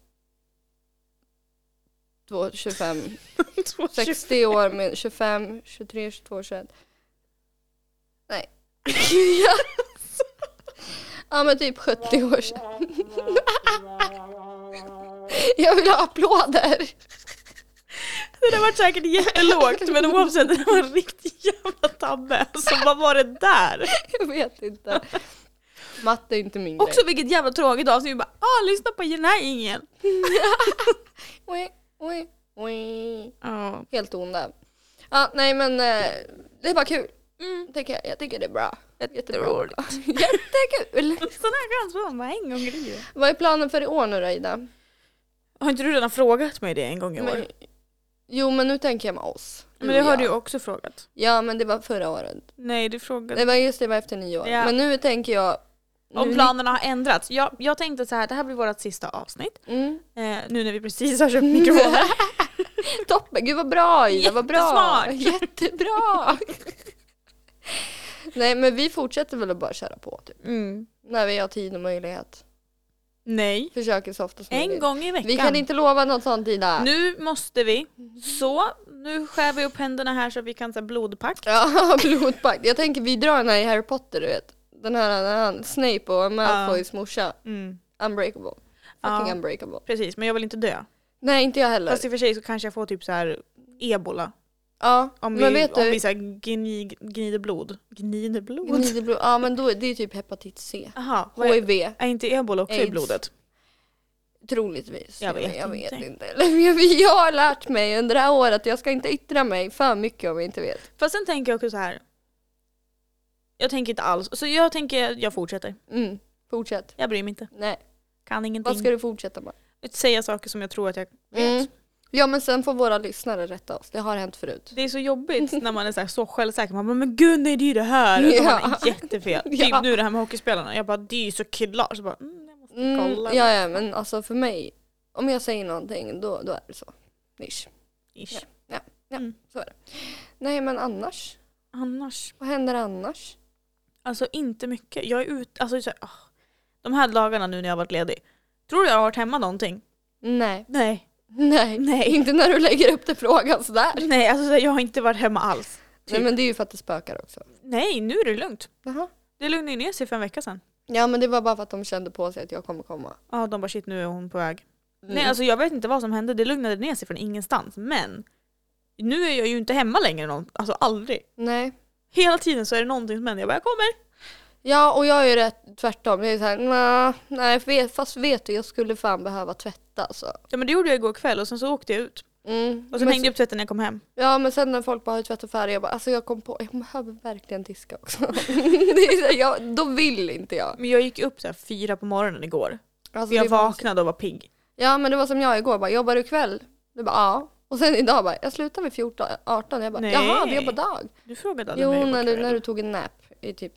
[SPEAKER 1] 25, 60 år med 25, 23, 22, 21.
[SPEAKER 2] *laughs*
[SPEAKER 1] Nej. ja men typ 70 år sedan.
[SPEAKER 2] *laughs*
[SPEAKER 1] Jag vill ha applåder!
[SPEAKER 2] Det där var säkert jättelågt men oavsett det var en riktig jävla tabbe. Så vad var det där?
[SPEAKER 1] Jag vet inte. Matte är inte min grej.
[SPEAKER 2] *laughs* Också vilket jävla tråkigt avsnitt. Vi bara ah, lyssna på den här ingen.
[SPEAKER 1] Oj, oj, oj.
[SPEAKER 2] Ja.
[SPEAKER 1] Helt onda. Ja, nej men eh, det är bara kul.
[SPEAKER 2] Mm.
[SPEAKER 1] Tycker jag. jag tycker det är bra.
[SPEAKER 2] Jätteroligt.
[SPEAKER 1] Jättekul!
[SPEAKER 2] *laughs* Sån här chans får man bara en gång i livet.
[SPEAKER 1] Vad är planen för i år nu då Ida?
[SPEAKER 2] Har inte du redan frågat mig det en gång i år?
[SPEAKER 1] Men,
[SPEAKER 2] Men,
[SPEAKER 1] jo men nu tänker jag med oss. Du
[SPEAKER 2] det
[SPEAKER 1] och
[SPEAKER 2] har du
[SPEAKER 1] jag.
[SPEAKER 2] ju också frågat.
[SPEAKER 1] Ja men det var förra året.
[SPEAKER 2] Nej, du frågade.
[SPEAKER 1] Det var just det, det var efter nio år.
[SPEAKER 2] Ja.
[SPEAKER 1] Men nu tänker jag... Nu,
[SPEAKER 2] Om planerna har ändrats. Jag, jag tänkte så här, det här blir vårt sista avsnitt.
[SPEAKER 1] Mm.
[SPEAKER 2] Eh, nu när vi precis har *laughs* köpt mikrofoner.
[SPEAKER 1] Toppen, gud vad bra Ida, vad bra! *laughs*
[SPEAKER 2] Jättesmart. *laughs*
[SPEAKER 1] Jättebra! nej men vi fortsätter väl att bara köra på typ.
[SPEAKER 2] Mm.
[SPEAKER 1] När vi har tid och möjlighet.
[SPEAKER 2] Nej.
[SPEAKER 1] Försöker så ofta som
[SPEAKER 2] En
[SPEAKER 1] möjligt.
[SPEAKER 2] gång i veckan.
[SPEAKER 1] Vi kan inte lova något sånt Ida.
[SPEAKER 2] Nu måste vi. Så, nu skär vi upp händerna här så vi kan säga
[SPEAKER 1] *laughs*
[SPEAKER 2] blodpakt.
[SPEAKER 1] Ja, blodpakt. Jag tänker vi drar den här i Harry Potter du vet. Den här när han, Snape och Malfoys morsa. Unbreakable. Fucking
[SPEAKER 2] Ja.
[SPEAKER 1] unbreakable.
[SPEAKER 2] Precis, men jag vill inte dö.
[SPEAKER 1] Nej inte jag heller.
[SPEAKER 2] Fast i och för sig så kanske jag får typ så här ebola.
[SPEAKER 1] ja,
[SPEAKER 2] Om
[SPEAKER 1] men
[SPEAKER 2] vi,
[SPEAKER 1] vet
[SPEAKER 2] om
[SPEAKER 1] du.
[SPEAKER 2] vi så här gni, gnider blod. Gnider blod?
[SPEAKER 1] Gnider blod. Ja men då är det är typ hepatit C.
[SPEAKER 2] Aha, vad är,
[SPEAKER 1] HIV.
[SPEAKER 2] är inte ebola också i
[SPEAKER 1] Aids.
[SPEAKER 2] blodet?
[SPEAKER 1] Troligtvis.
[SPEAKER 2] Jag vet
[SPEAKER 1] jag vet
[SPEAKER 2] inte.
[SPEAKER 1] inte. *laughs* Eller, Jag har lärt mig under det här året att jag ska inte yttra mig för mycket om jag inte vet.
[SPEAKER 2] Fast sen tänker jag också så här. Jag tänker inte alls. Så jag tänker, jag fortsätter.
[SPEAKER 1] Mm. Fortsätt.
[SPEAKER 2] Jag bryr mig inte.
[SPEAKER 1] Nej.
[SPEAKER 2] Kan
[SPEAKER 1] Vad
[SPEAKER 2] ingenting.
[SPEAKER 1] ska du fortsätta med?
[SPEAKER 2] Säga saker som jag tror att jag vet.
[SPEAKER 1] Mm. Ja men sen får våra lyssnare rätta oss. Det har hänt förut.
[SPEAKER 2] Det är
[SPEAKER 1] *laughs*
[SPEAKER 2] så jobbigt när man är så, här så självsäker. Man bara, men gud nej det är ju det här. Och så
[SPEAKER 1] Ja.
[SPEAKER 2] man är jättefel.
[SPEAKER 1] *laughs* Ja.
[SPEAKER 2] Typ nu det här med hockeyspelarna. Jag bara, det är ju så klart. Så bara, mm, jag måste
[SPEAKER 1] Mm,
[SPEAKER 2] kolla.
[SPEAKER 1] ja, ja, men alltså för mig, om jag säger någonting då, då är det så. Ish.
[SPEAKER 2] Ish.
[SPEAKER 1] Ja,
[SPEAKER 2] Mm.
[SPEAKER 1] så är det. Nej, men annars?
[SPEAKER 2] Annars,
[SPEAKER 1] Vad händer annars?
[SPEAKER 2] alltså inte mycket. Jag är ute, alltså så här, ah. de här dagarna nu när jag har varit ledig. Tror du jag har varit hemma någonting?
[SPEAKER 1] Nej, *laughs*
[SPEAKER 2] Nej.
[SPEAKER 1] nej,
[SPEAKER 2] Nej.
[SPEAKER 1] inte när du lägger upp det frågan sådär.
[SPEAKER 2] Nej, alltså så här, jag har inte varit hemma alls.
[SPEAKER 1] Nej, men det är ju för att det spökar också.
[SPEAKER 2] Nej, nu är det lugnt.
[SPEAKER 1] Jaha.
[SPEAKER 2] Det lugnade ju ner sig för en vecka sedan.
[SPEAKER 1] Ja, men det var bara för att de kände på sig att jag kommer komma.
[SPEAKER 2] Ja, de bara shit nu är hon på väg.
[SPEAKER 1] Mm.
[SPEAKER 2] Mm. Nej, alltså jag vet inte vad som hände. Det lugnade ner sig från ingenstans. Men nu är jag ju inte hemma längre. Någon, alltså aldrig.
[SPEAKER 1] nej.
[SPEAKER 2] Hela tiden så är det någonting som händer. Jag bara, jag kommer.
[SPEAKER 1] Ja, och jag är ju rätt tvärtom. Jag är såhär, nah, nej, fe- fast vet du, jag skulle fan behöva tvätta alltså.
[SPEAKER 2] Ja men det gjorde jag igår kväll och sen så åkte jag ut.
[SPEAKER 1] Mm.
[SPEAKER 2] Och sen
[SPEAKER 1] men,
[SPEAKER 2] hängde jag upp tvätten när jag kom hem.
[SPEAKER 1] Ja men sen när folk bara har tvätt och färg, jag bara alltså jag kom på, jag behöver verkligen diska också. *laughs* det är så här, jag, då vill inte jag.
[SPEAKER 2] Men jag gick upp så här fyra på morgonen igår.
[SPEAKER 1] Alltså,
[SPEAKER 2] För jag
[SPEAKER 1] det var-
[SPEAKER 2] vaknade och var pigg.
[SPEAKER 1] Ja men det var som jag igår, bara jobbar du kväll? Du bara ja. Och sen idag bara, jag slutar vid 14, 18, jag bara
[SPEAKER 2] Nej.
[SPEAKER 1] jaha vi jobbar dag.
[SPEAKER 2] Du frågade aldrig
[SPEAKER 1] Jo
[SPEAKER 2] mig igår
[SPEAKER 1] när du,
[SPEAKER 2] kväll.
[SPEAKER 1] när du tog en nap i typ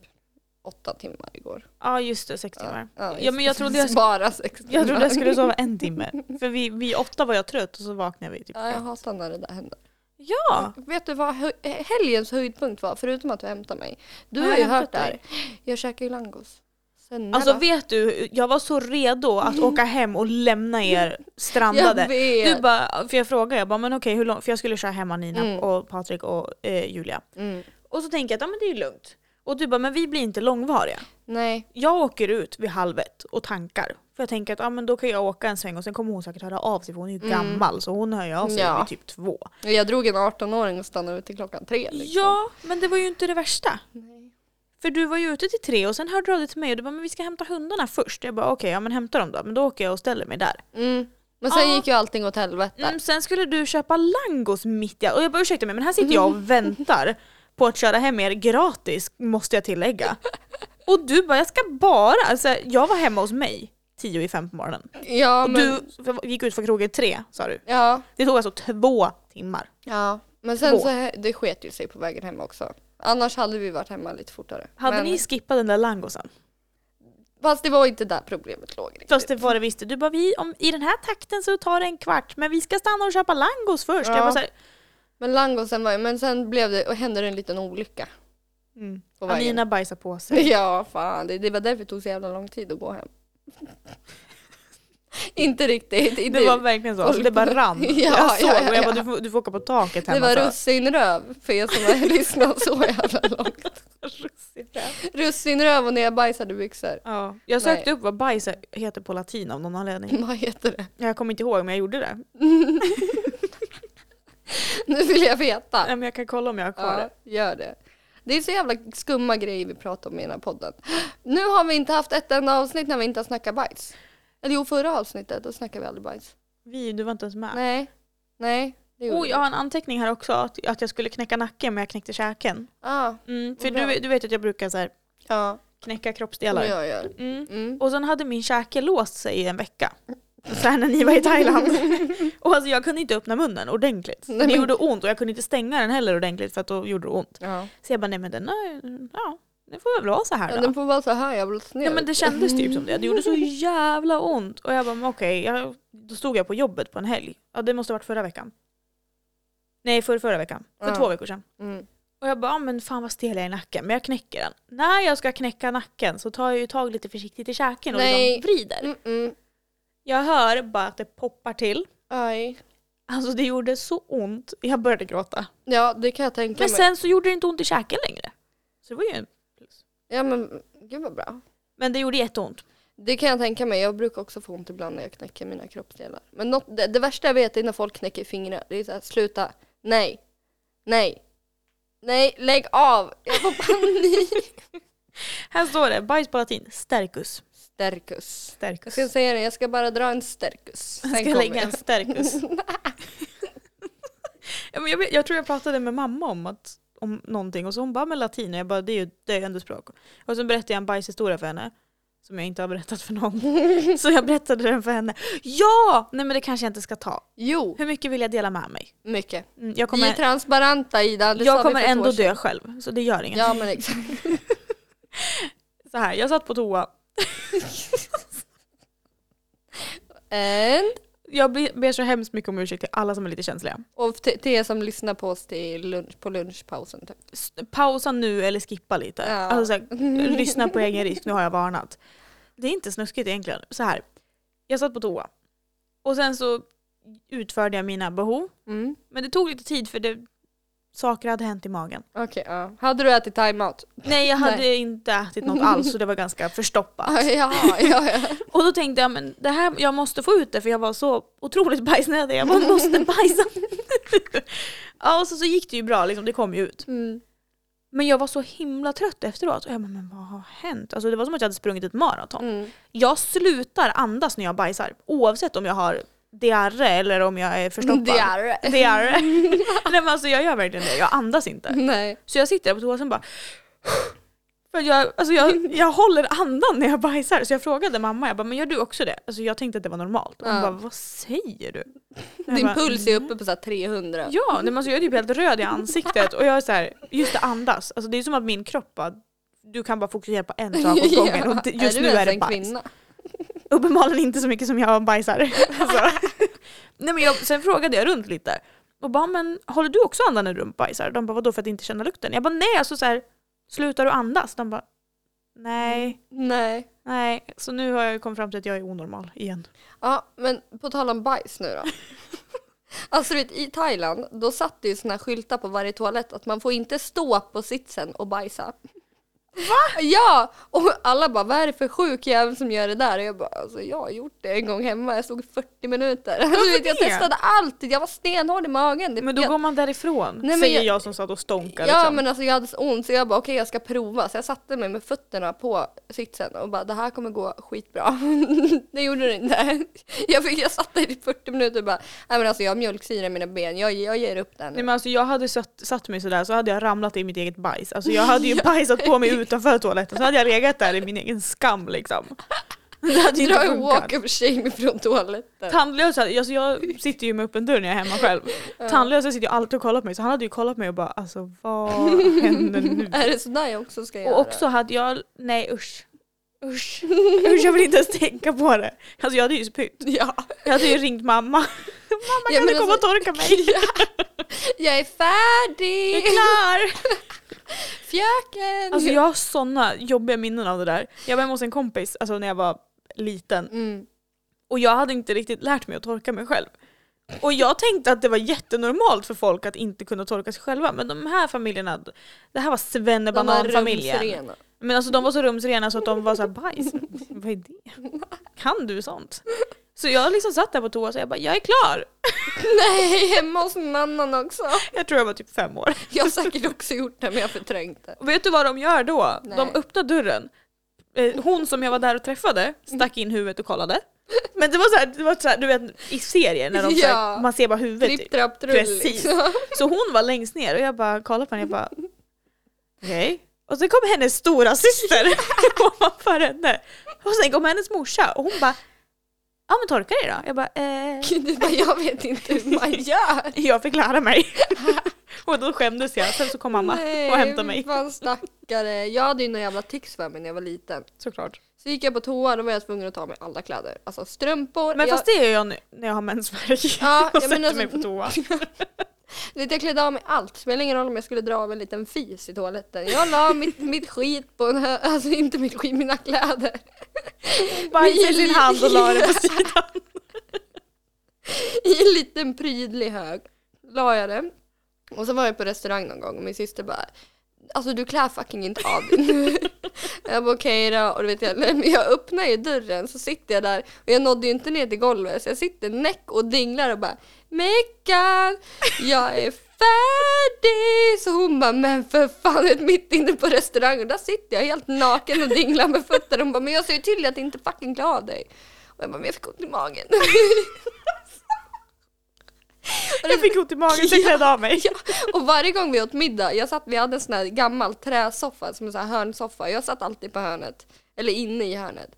[SPEAKER 1] åtta timmar igår.
[SPEAKER 2] Ja just det, sex timmar.
[SPEAKER 1] Ja,
[SPEAKER 2] Ja,
[SPEAKER 1] just
[SPEAKER 2] men
[SPEAKER 1] det.
[SPEAKER 2] jag trodde jag,
[SPEAKER 1] Bara sex timmar.
[SPEAKER 2] jag trodde jag skulle sova en timme. För vi, vi åtta var jag trött och så vaknade vi typ
[SPEAKER 1] Ja, jag
[SPEAKER 2] fem.
[SPEAKER 1] hatar när det där händer.
[SPEAKER 2] Ja!
[SPEAKER 1] Vet du vad hö- helgens höjdpunkt var? Förutom att du hämtade mig. Du
[SPEAKER 2] Ja,
[SPEAKER 1] har
[SPEAKER 2] jag
[SPEAKER 1] ju
[SPEAKER 2] hämtade
[SPEAKER 1] hört det här.
[SPEAKER 2] dig.
[SPEAKER 1] Jag käkar ju langos. Sen
[SPEAKER 2] Alltså vet du, jag var så redo att åka hem och lämna er strandade.
[SPEAKER 1] Jag vet.
[SPEAKER 2] Du bara, för jag frågade, jag bara, men okej, hur långt, för jag skulle köra hem Nina
[SPEAKER 1] Mm.
[SPEAKER 2] och Patrik och eh, Julia.
[SPEAKER 1] Mm.
[SPEAKER 2] Och så tänker jag att ja, men det är ju lugnt. Och du bara, men vi blir inte långvariga.
[SPEAKER 1] Nej.
[SPEAKER 2] Jag åker ut vid halv ett och tankar. För jag tänker att ja, men då kan jag åka en sväng och sen kommer hon säkert höra av sig för hon är ju
[SPEAKER 1] Mm.
[SPEAKER 2] gammal så hon hör ju av sig
[SPEAKER 1] Ja.
[SPEAKER 2] vid typ två.
[SPEAKER 1] Och Jag drog en 18-åring och stannade ute till klockan tre. Liksom.
[SPEAKER 2] Ja, men det var ju inte det värsta.
[SPEAKER 1] Nej.
[SPEAKER 2] För du var ju ute till tre och sen hörde du av dig till mig och du bara men vi ska hämta hundarna först. Jag bara okej, ja men hämta dem då. Men då åker jag och ställer mig där.
[SPEAKER 1] Mm. Men sen
[SPEAKER 2] Ja.
[SPEAKER 1] gick ju allting åt helvete.
[SPEAKER 2] Mm, sen skulle du köpa langos mitt i Och jag bara ursäkta mig men här sitter jag
[SPEAKER 1] Mm.
[SPEAKER 2] och väntar på att köra hem er gratis måste jag tillägga. Och du bara jag ska bara, alltså jag var hemma hos mig tio i fem på morgonen.
[SPEAKER 1] Ja,
[SPEAKER 2] Mm. Och
[SPEAKER 1] men,
[SPEAKER 2] du gick ut från krogen tre sa du.
[SPEAKER 1] ja,
[SPEAKER 2] Det tog alltså två timmar.
[SPEAKER 1] ja. men sen
[SPEAKER 2] Två.
[SPEAKER 1] så he- det sket ju sig på vägen hem också. Annars hade vi varit hemma lite fortare.
[SPEAKER 2] Hade
[SPEAKER 1] men,
[SPEAKER 2] ni skippat den där langosen?
[SPEAKER 1] Fast det var inte där problemet låg riktigt.
[SPEAKER 2] Fast det var det visste. Du bara vi, om, i den här takten så tar det en kvart men vi ska stanna och köpa langos först. Jag
[SPEAKER 1] Ja.
[SPEAKER 2] bara så här,
[SPEAKER 1] Men langosen var ju, men sen blev det, och hände det en liten olycka
[SPEAKER 2] mm.
[SPEAKER 1] på vägen.
[SPEAKER 2] Alina bajsar på
[SPEAKER 1] *laughs*
[SPEAKER 2] sig.
[SPEAKER 1] Ja, fan. Det, det var därför det tog så jävla lång tid att gå hem. *laughs* inte riktigt. Inte.
[SPEAKER 2] Det var verkligen så, alltså, det bara rann.
[SPEAKER 1] *laughs* Ja,
[SPEAKER 2] jag såg
[SPEAKER 1] ja, ja,
[SPEAKER 2] och jag bara
[SPEAKER 1] ja.
[SPEAKER 2] du får, du får åka på taket
[SPEAKER 1] det
[SPEAKER 2] hemma.
[SPEAKER 1] var
[SPEAKER 2] så.
[SPEAKER 1] russinröv för er som har *laughs* lyssnat så jävla långt. Russinröv och nerbajsade byxor. *laughs*
[SPEAKER 2] Ja, jag sökte
[SPEAKER 1] Nej.
[SPEAKER 2] upp vad bajs heter på latin av
[SPEAKER 1] *laughs*
[SPEAKER 2] någon anledning.
[SPEAKER 1] Vad heter det?
[SPEAKER 2] Jag kommer inte ihåg men jag gjorde det.
[SPEAKER 1] Nu vill jag veta.
[SPEAKER 2] Nej, men jag kan kolla om jag har kvar
[SPEAKER 1] Ja,
[SPEAKER 2] det.
[SPEAKER 1] gör det. Det är så jävla skumma grejer vi pratar om i den här podden. *gasps* Nu har vi inte haft ett enda avsnitt när vi inte har snackat bajs. Eller jo, förra avsnittet, då snackade vi aldrig bajs.
[SPEAKER 2] Vi, du var inte ens med.
[SPEAKER 1] Nej, nej. Det gjorde
[SPEAKER 2] Oh,
[SPEAKER 1] vi.
[SPEAKER 2] jag har en anteckning här också att, att jag skulle knäcka nacken men jag knäckte käken.
[SPEAKER 1] Ah,
[SPEAKER 2] Mm, för
[SPEAKER 1] Bra.
[SPEAKER 2] du, du vet att jag brukar så här,
[SPEAKER 1] ja,
[SPEAKER 2] knäcka
[SPEAKER 1] som
[SPEAKER 2] kroppsdelar.
[SPEAKER 1] jag gör.
[SPEAKER 2] Mm.
[SPEAKER 1] Mm.
[SPEAKER 2] Och sen hade min käke låst sig i en vecka. Så här när ni var i
[SPEAKER 1] *laughs*
[SPEAKER 2] Thailand. och alltså jag kunde inte öppna munnen ordentligt.
[SPEAKER 1] Nej,
[SPEAKER 2] det
[SPEAKER 1] men-
[SPEAKER 2] gjorde ont och jag kunde inte stänga den heller ordentligt för att då gjorde det ont.
[SPEAKER 1] Ja.
[SPEAKER 2] Så jag bara nej men den har, ja det får väl vara så här
[SPEAKER 1] Ja,
[SPEAKER 2] då.
[SPEAKER 1] den får vara så här jävla sned.
[SPEAKER 2] Ja men det kändes typ som det. Det gjorde så
[SPEAKER 1] Mm.
[SPEAKER 2] jävla ont. Och jag bara, men okej. jag, då stod jag på jobbet på en helg. Ja det måste ha varit förra veckan. Nej för förra veckan. För
[SPEAKER 1] Ja.
[SPEAKER 2] två veckor sedan.
[SPEAKER 1] Mm.
[SPEAKER 2] Och jag bara, ja, men fan vad stel jag är i nacken. Men jag knäcker den. När jag ska knäcka nacken så tar jag ju tag lite försiktigt i käken och
[SPEAKER 1] Nej.
[SPEAKER 2] liksom vrider.
[SPEAKER 1] Mm -mm.
[SPEAKER 2] Jag hör bara att det poppar till.
[SPEAKER 1] Aj.
[SPEAKER 2] Alltså det gjorde så ont. Jag började gråta.
[SPEAKER 1] Ja, det kan jag tänka
[SPEAKER 2] Men
[SPEAKER 1] mig.
[SPEAKER 2] sen så gjorde det inte ont i käken längre. Så det var ju en...
[SPEAKER 1] Ja men gud vad bra.
[SPEAKER 2] Men det gjorde jätteont.
[SPEAKER 1] Det kan jag tänka mig. Jag brukar också få ont ibland när jag knäcker mina kroppsdelar. Men något, det, det värsta jag vet är när folk knäcker fingrar. Det är såhär, sluta. Nej. Nej. Nej, lägg av. Jag får panik.
[SPEAKER 2] Här står det, bajs på latin, stärkus.
[SPEAKER 1] Sterkus. Jag
[SPEAKER 2] Stärkus.
[SPEAKER 1] ska säga det, jag ska bara dra en sterkus. Sen
[SPEAKER 2] Jag ska
[SPEAKER 1] kommer
[SPEAKER 2] lägga en stärkus.
[SPEAKER 1] *laughs*
[SPEAKER 2] ja, men jag, vet- jag tror jag pratade med mamma om, att, om någonting och så hon bara med latin och jag bara det är ju döende språk. Och så berättade jag en bajshistoria för henne. Som jag inte har berättat
[SPEAKER 1] *laughs*
[SPEAKER 2] för någon. Så jag berättade den för henne. Ja! Nej men det kanske jag inte ska ta.
[SPEAKER 1] Jo,
[SPEAKER 2] Hur mycket vill jag dela med mig?
[SPEAKER 1] mycket.
[SPEAKER 2] Mm, jag
[SPEAKER 1] Vi är
[SPEAKER 2] kommer,
[SPEAKER 1] transparenta Ida. Det sa
[SPEAKER 2] jag
[SPEAKER 1] vi
[SPEAKER 2] kommer
[SPEAKER 1] för ett år
[SPEAKER 2] ändå
[SPEAKER 1] sedan.
[SPEAKER 2] dö själv. Så det gör inget.
[SPEAKER 1] Ja men exakt.
[SPEAKER 2] Så här, jag satt på toa.
[SPEAKER 1] And,
[SPEAKER 2] Jag ber ber så hemskt mycket om ursäkt till alla som är lite känsliga.
[SPEAKER 1] och till, till er som lyssnar på oss till lunch, på lunchpausen typ.
[SPEAKER 2] S- pausa nu eller skippa lite.
[SPEAKER 1] Ja.
[SPEAKER 2] Alltså, så här, lyssna på egen risk, nu har jag varnat. Det är inte snuskigt egentligen. Så här, jag satt på toa och sen så utförde jag mina behov.
[SPEAKER 1] Mm.
[SPEAKER 2] Men det tog lite tid för det, saker hade hänt i magen.
[SPEAKER 1] Okej, ja. Hade du ätit timeout?
[SPEAKER 2] Nej jag hade inte ätit något alls så det var
[SPEAKER 1] *laughs*
[SPEAKER 2] ganska förstoppat.
[SPEAKER 1] Ah, ja, ja, ja.
[SPEAKER 2] Och då tänkte jag men det här, jag måste få ut det för jag var så otroligt *laughs* bajsnödig. Jag bara, måste bajsa. *laughs* ja och så, så gick det ju bra liksom, det kom ju ut.
[SPEAKER 1] Mm.
[SPEAKER 2] Men jag var så himla trött efteråt. Och jag bara, men vad har hänt? Alltså, det var som att jag hade sprungit ett maraton.
[SPEAKER 1] Mm.
[SPEAKER 2] Jag slutar andas när jag bajsar. Oavsett om jag har diarré eller om jag är förstoppad.
[SPEAKER 1] Det är det. *laughs*
[SPEAKER 2] Diarré. Nej men alltså jag gör verkligen det. Jag andas inte.
[SPEAKER 1] Nej.
[SPEAKER 2] Så jag sitter där på toa och sen bara... För att jag, alltså jag, jag håller andan när jag bajsar. Så jag frågade mamma, jag bara, men gör du också det? Alltså jag tänkte att det var normalt. Och hon
[SPEAKER 1] Ja.
[SPEAKER 2] bara, vad säger du? Jag
[SPEAKER 1] Din
[SPEAKER 2] bara, mm.
[SPEAKER 1] puls är uppe på så här 300.
[SPEAKER 2] Ja, nej, men alltså jag är typ helt röd i ansiktet och jag är så här, just det andas. Alltså det är som att min kropp bara, du kan bara fokusera på en sak
[SPEAKER 1] *laughs*
[SPEAKER 2] åt gången och det-
[SPEAKER 1] är
[SPEAKER 2] just
[SPEAKER 1] du
[SPEAKER 2] nu
[SPEAKER 1] ens
[SPEAKER 2] är det
[SPEAKER 1] en
[SPEAKER 2] bajs.
[SPEAKER 1] kvinna?
[SPEAKER 2] Uppenbarligen inte så mycket som
[SPEAKER 1] *laughs*
[SPEAKER 2] jag bajsar. Alltså. nej, men jag, sen frågade jag runt lite och bara, men håller du också andan när du bajsar? De bara, vadå för att inte känna lukten? Jag bara, nej alltså så här, slutar du andas? De bara,
[SPEAKER 1] Mm.
[SPEAKER 2] nej,
[SPEAKER 1] Nej.
[SPEAKER 2] nej. Så nu har jag kommit fram till att jag är onormal igen. *laughs*
[SPEAKER 1] Ja, men på tal om bajs nu då. Alltså du vet, i Thailand, då satt det ju såna här skyltar på varje toalett att man får inte stå på sitsen och bajsa. Va? Ja! Och alla bara, vad är det för sjuk jävel som gör det där? Och jag bara, alltså jag har gjort det en gång hemma, jag stod i 40 minuter. Alltså, *laughs* du vet, jag
[SPEAKER 2] det?
[SPEAKER 1] testade allt, jag var stenhård i magen. Det-
[SPEAKER 2] Men då
[SPEAKER 1] jag,
[SPEAKER 2] går man därifrån,
[SPEAKER 1] men
[SPEAKER 2] säger
[SPEAKER 1] jag-
[SPEAKER 2] jag... som satt och stånkade.
[SPEAKER 1] Ja
[SPEAKER 2] liksom.
[SPEAKER 1] men alltså jag hade så ont så jag bara okej jag ska prova. Så jag satte mig med fötterna på sitsen och bara det här kommer gå skitbra. *laughs* det gjorde det inte. *laughs* Jag, fick, jag satt där i 40 minuter och bara nej men alltså jag har mjölksyra i mina ben, jag, jag ger upp den.
[SPEAKER 2] Nej, men alltså, jag hade satt, satt mig sådär så hade jag ramlat i mitt eget bajs. Alltså, jag
[SPEAKER 1] *laughs*
[SPEAKER 2] hade ju bajsat på mig utanför toaletten så hade jag legat där i min egen skam liksom.
[SPEAKER 1] *laughs*
[SPEAKER 2] Det hade ju
[SPEAKER 1] Dra
[SPEAKER 2] inte
[SPEAKER 1] en
[SPEAKER 2] funkat.
[SPEAKER 1] walk of shame från toaletten.
[SPEAKER 2] Tandlösa, alltså, jag sitter ju med öppen dörr när jag är hemma själv. Tandlösa sitter ju alltid och kollar på mig så han hade ju kollat på mig och bara alltså vad
[SPEAKER 1] *laughs*
[SPEAKER 2] händer nu?
[SPEAKER 1] Är det sådär jag också ska göra?
[SPEAKER 2] Och också hade jag, nej usch. Usch. usch, jag vill inte ens tänka på det. Alltså jag hade ju spytt.
[SPEAKER 1] *laughs* Ja.
[SPEAKER 2] Jag hade ju ringt mamma. Mamma kan
[SPEAKER 1] men
[SPEAKER 2] du komma
[SPEAKER 1] Oh alltså-
[SPEAKER 2] och torka mig?
[SPEAKER 1] *laughs* ja. Jag är
[SPEAKER 2] Jag är
[SPEAKER 1] färdig!
[SPEAKER 2] klar!
[SPEAKER 1] Fjöken!
[SPEAKER 2] Alltså jag har såna jobbiga minnen av det där. Jag var hemma hos en kompis alltså när jag var liten
[SPEAKER 1] mm.
[SPEAKER 2] och jag hade inte riktigt lärt mig att torka mig själv. Och jag tänkte att det var jättenormalt för folk att inte kunna torka sig själva men de här familjerna, det här var
[SPEAKER 1] De var
[SPEAKER 2] svennebananfamiljen.
[SPEAKER 1] rumsrena. *laughs*
[SPEAKER 2] Men alltså de var så rumsrena så att de var såhär bajs, vad är det? Kan du sånt? Så jag liksom satt där på toa och jag bara jag är klar!
[SPEAKER 1] Nej, hemma hos någon annan också.
[SPEAKER 2] Jag tror jag var typ fem år.
[SPEAKER 1] Jag har säkert också gjort det men jag har förträngt det.
[SPEAKER 2] Och Vet du vad de gör då?
[SPEAKER 1] Nej.
[SPEAKER 2] De öppnar dörren. Eh, Hon som jag var där och träffade stack in huvudet och kollade. Men det var så här, det var så här du vet i serier när de så här,
[SPEAKER 1] Ja.
[SPEAKER 2] man ser bara huvudet.
[SPEAKER 1] Tripp,
[SPEAKER 2] typ.
[SPEAKER 1] trapp, trull. *laughs*
[SPEAKER 2] Precis.
[SPEAKER 1] liksom.
[SPEAKER 2] Så hon var längst ner och jag bara kollade på henne och bara okej. Och sen kom hennes stora syster *laughs* ovanför henne. Och sen kom hennes morsa och hon bara ja men torka dig då. Jag bara eh,
[SPEAKER 1] Du bara, jag vet inte hur
[SPEAKER 2] *laughs*
[SPEAKER 1] man gör.
[SPEAKER 2] jag fick lära mig. *laughs* och då skämdes jag. Sen så kom mamma
[SPEAKER 1] Nej,
[SPEAKER 2] och hämtade mig.
[SPEAKER 1] Fan stackare. Jag hade ju någon jävla tics för mig när jag var liten.
[SPEAKER 2] Såklart.
[SPEAKER 1] Så gick jag på toa då var jag tvungen att ta av mig alla kläder. Alltså strumpor.
[SPEAKER 2] Men
[SPEAKER 1] jag,
[SPEAKER 2] fast det gör jag nu när jag har mensvärk.
[SPEAKER 1] Ja,
[SPEAKER 2] *laughs* och
[SPEAKER 1] ja, men
[SPEAKER 2] sätter
[SPEAKER 1] alltså-
[SPEAKER 2] mig
[SPEAKER 1] *laughs*
[SPEAKER 2] på toa.
[SPEAKER 1] du vet, jag klädde av mig allt. Det spelade ingen roll om jag skulle dra av en liten fis i toaletten. Jag la mitt, mitt skit på en hö- Alltså inte mitt skit, mina kläder.
[SPEAKER 2] Bajs i sin hand och la det på sidan.
[SPEAKER 1] I en liten prydlig hög. La jag det. Och så var jag på restaurang någon gång och min syster bara Alltså du klär fucking inte av dig nu." *laughs* Jag bara okej då och du vet jag, men jag öppnar ju dörren så sitter jag där och jag nådde ju inte ner till golvet så jag sitter näck och dinglar och bara Meckan, jag är färdig! Så hon bara men för fan du vet, mitt inne på restaurangen där sitter jag helt naken och dinglar med fötterna hon bara men jag ser ju till att inte fucking klä av dig. Och jag bara men jag fick ont i magen.
[SPEAKER 2] Jag fick ont i magen så jag klädde av mig.
[SPEAKER 1] *laughs* Ja, *laughs* och varje gång vi åt middag, jag satt, vi hade en sån här gammal träsoffa, som en sån här hörnsoffa. Jag satt alltid på hörnet, eller inne i hörnet.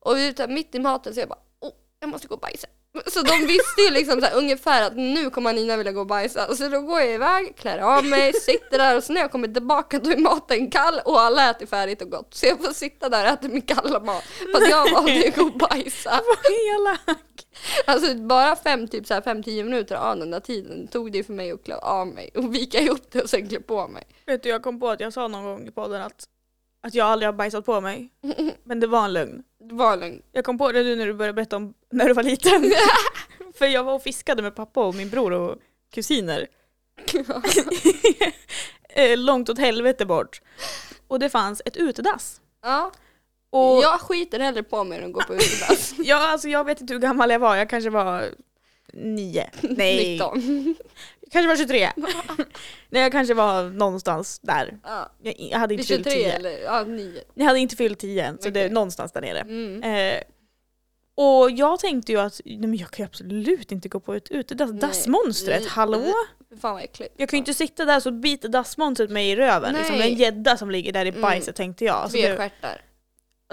[SPEAKER 1] Och vi var mitt i maten så jag bara, åh, jag måste gå och bajsa. Så de visste ju liksom så här, ungefär att nu kommer Nina vilja gå och bajsa. Så då går jag iväg, klär av mig, sitter där och så när jag kommer tillbaka då är maten kall och alla äter färdigt och gott. Så jag får sitta där och äta min kalla mat. För att jag valde att gå och bajsa.
[SPEAKER 2] Vad elak.
[SPEAKER 1] Alltså bara fem, typ så här fem, tio minuter av den där tiden tog det för mig att klä av mig och vika ihop det och sen klä på mig.
[SPEAKER 2] Vet du jag kom på att jag sa någon gång i podden att, att jag aldrig har bajsat
[SPEAKER 1] *laughs*
[SPEAKER 2] på mig. Men det var en lögn.
[SPEAKER 1] Det var lugnt.
[SPEAKER 2] Jag kom på det nu när du började berätta om när du
[SPEAKER 1] *laughs*
[SPEAKER 2] var liten. För jag var och fiskade med pappa och min bror och
[SPEAKER 1] *laughs*
[SPEAKER 2] kusiner. *laughs* Eh, Långt åt helvete bort. Och det fanns ett utedass.
[SPEAKER 1] Ja,
[SPEAKER 2] Och
[SPEAKER 1] jag skiter hellre på mig än att gå på *laughs* utedass.
[SPEAKER 2] Ja, alltså jag vet inte hur gammal jag var, jag kanske var nio. Nej,
[SPEAKER 1] 19.
[SPEAKER 2] jag kanske
[SPEAKER 1] *laughs*
[SPEAKER 2] var 23. Nej, jag kanske var någonstans där.
[SPEAKER 1] Ja.
[SPEAKER 2] Jag, jag hade
[SPEAKER 1] Vid
[SPEAKER 2] inte fyllt
[SPEAKER 1] 23
[SPEAKER 2] tio.
[SPEAKER 1] eller ja, 9.
[SPEAKER 2] Jag hade inte fyllt tio än, så det är
[SPEAKER 1] Okej.
[SPEAKER 2] någonstans där nere.
[SPEAKER 1] Mm.
[SPEAKER 2] Eh, och jag tänkte ju att nej, men jag kan ju absolut inte gå på ett utedass.
[SPEAKER 1] Nej.
[SPEAKER 2] Dassmonstret,
[SPEAKER 1] Nej.
[SPEAKER 2] hallå?
[SPEAKER 1] Fy Fan vad äckligt.
[SPEAKER 2] Jag kan ju inte sitta där så biter dassmonstret mig i röven. Liksom. Det är en
[SPEAKER 1] Nej.
[SPEAKER 2] gädda som ligger där i
[SPEAKER 1] Mm.
[SPEAKER 2] bajset tänkte jag. Alltså, det,
[SPEAKER 1] Tvestjärtar.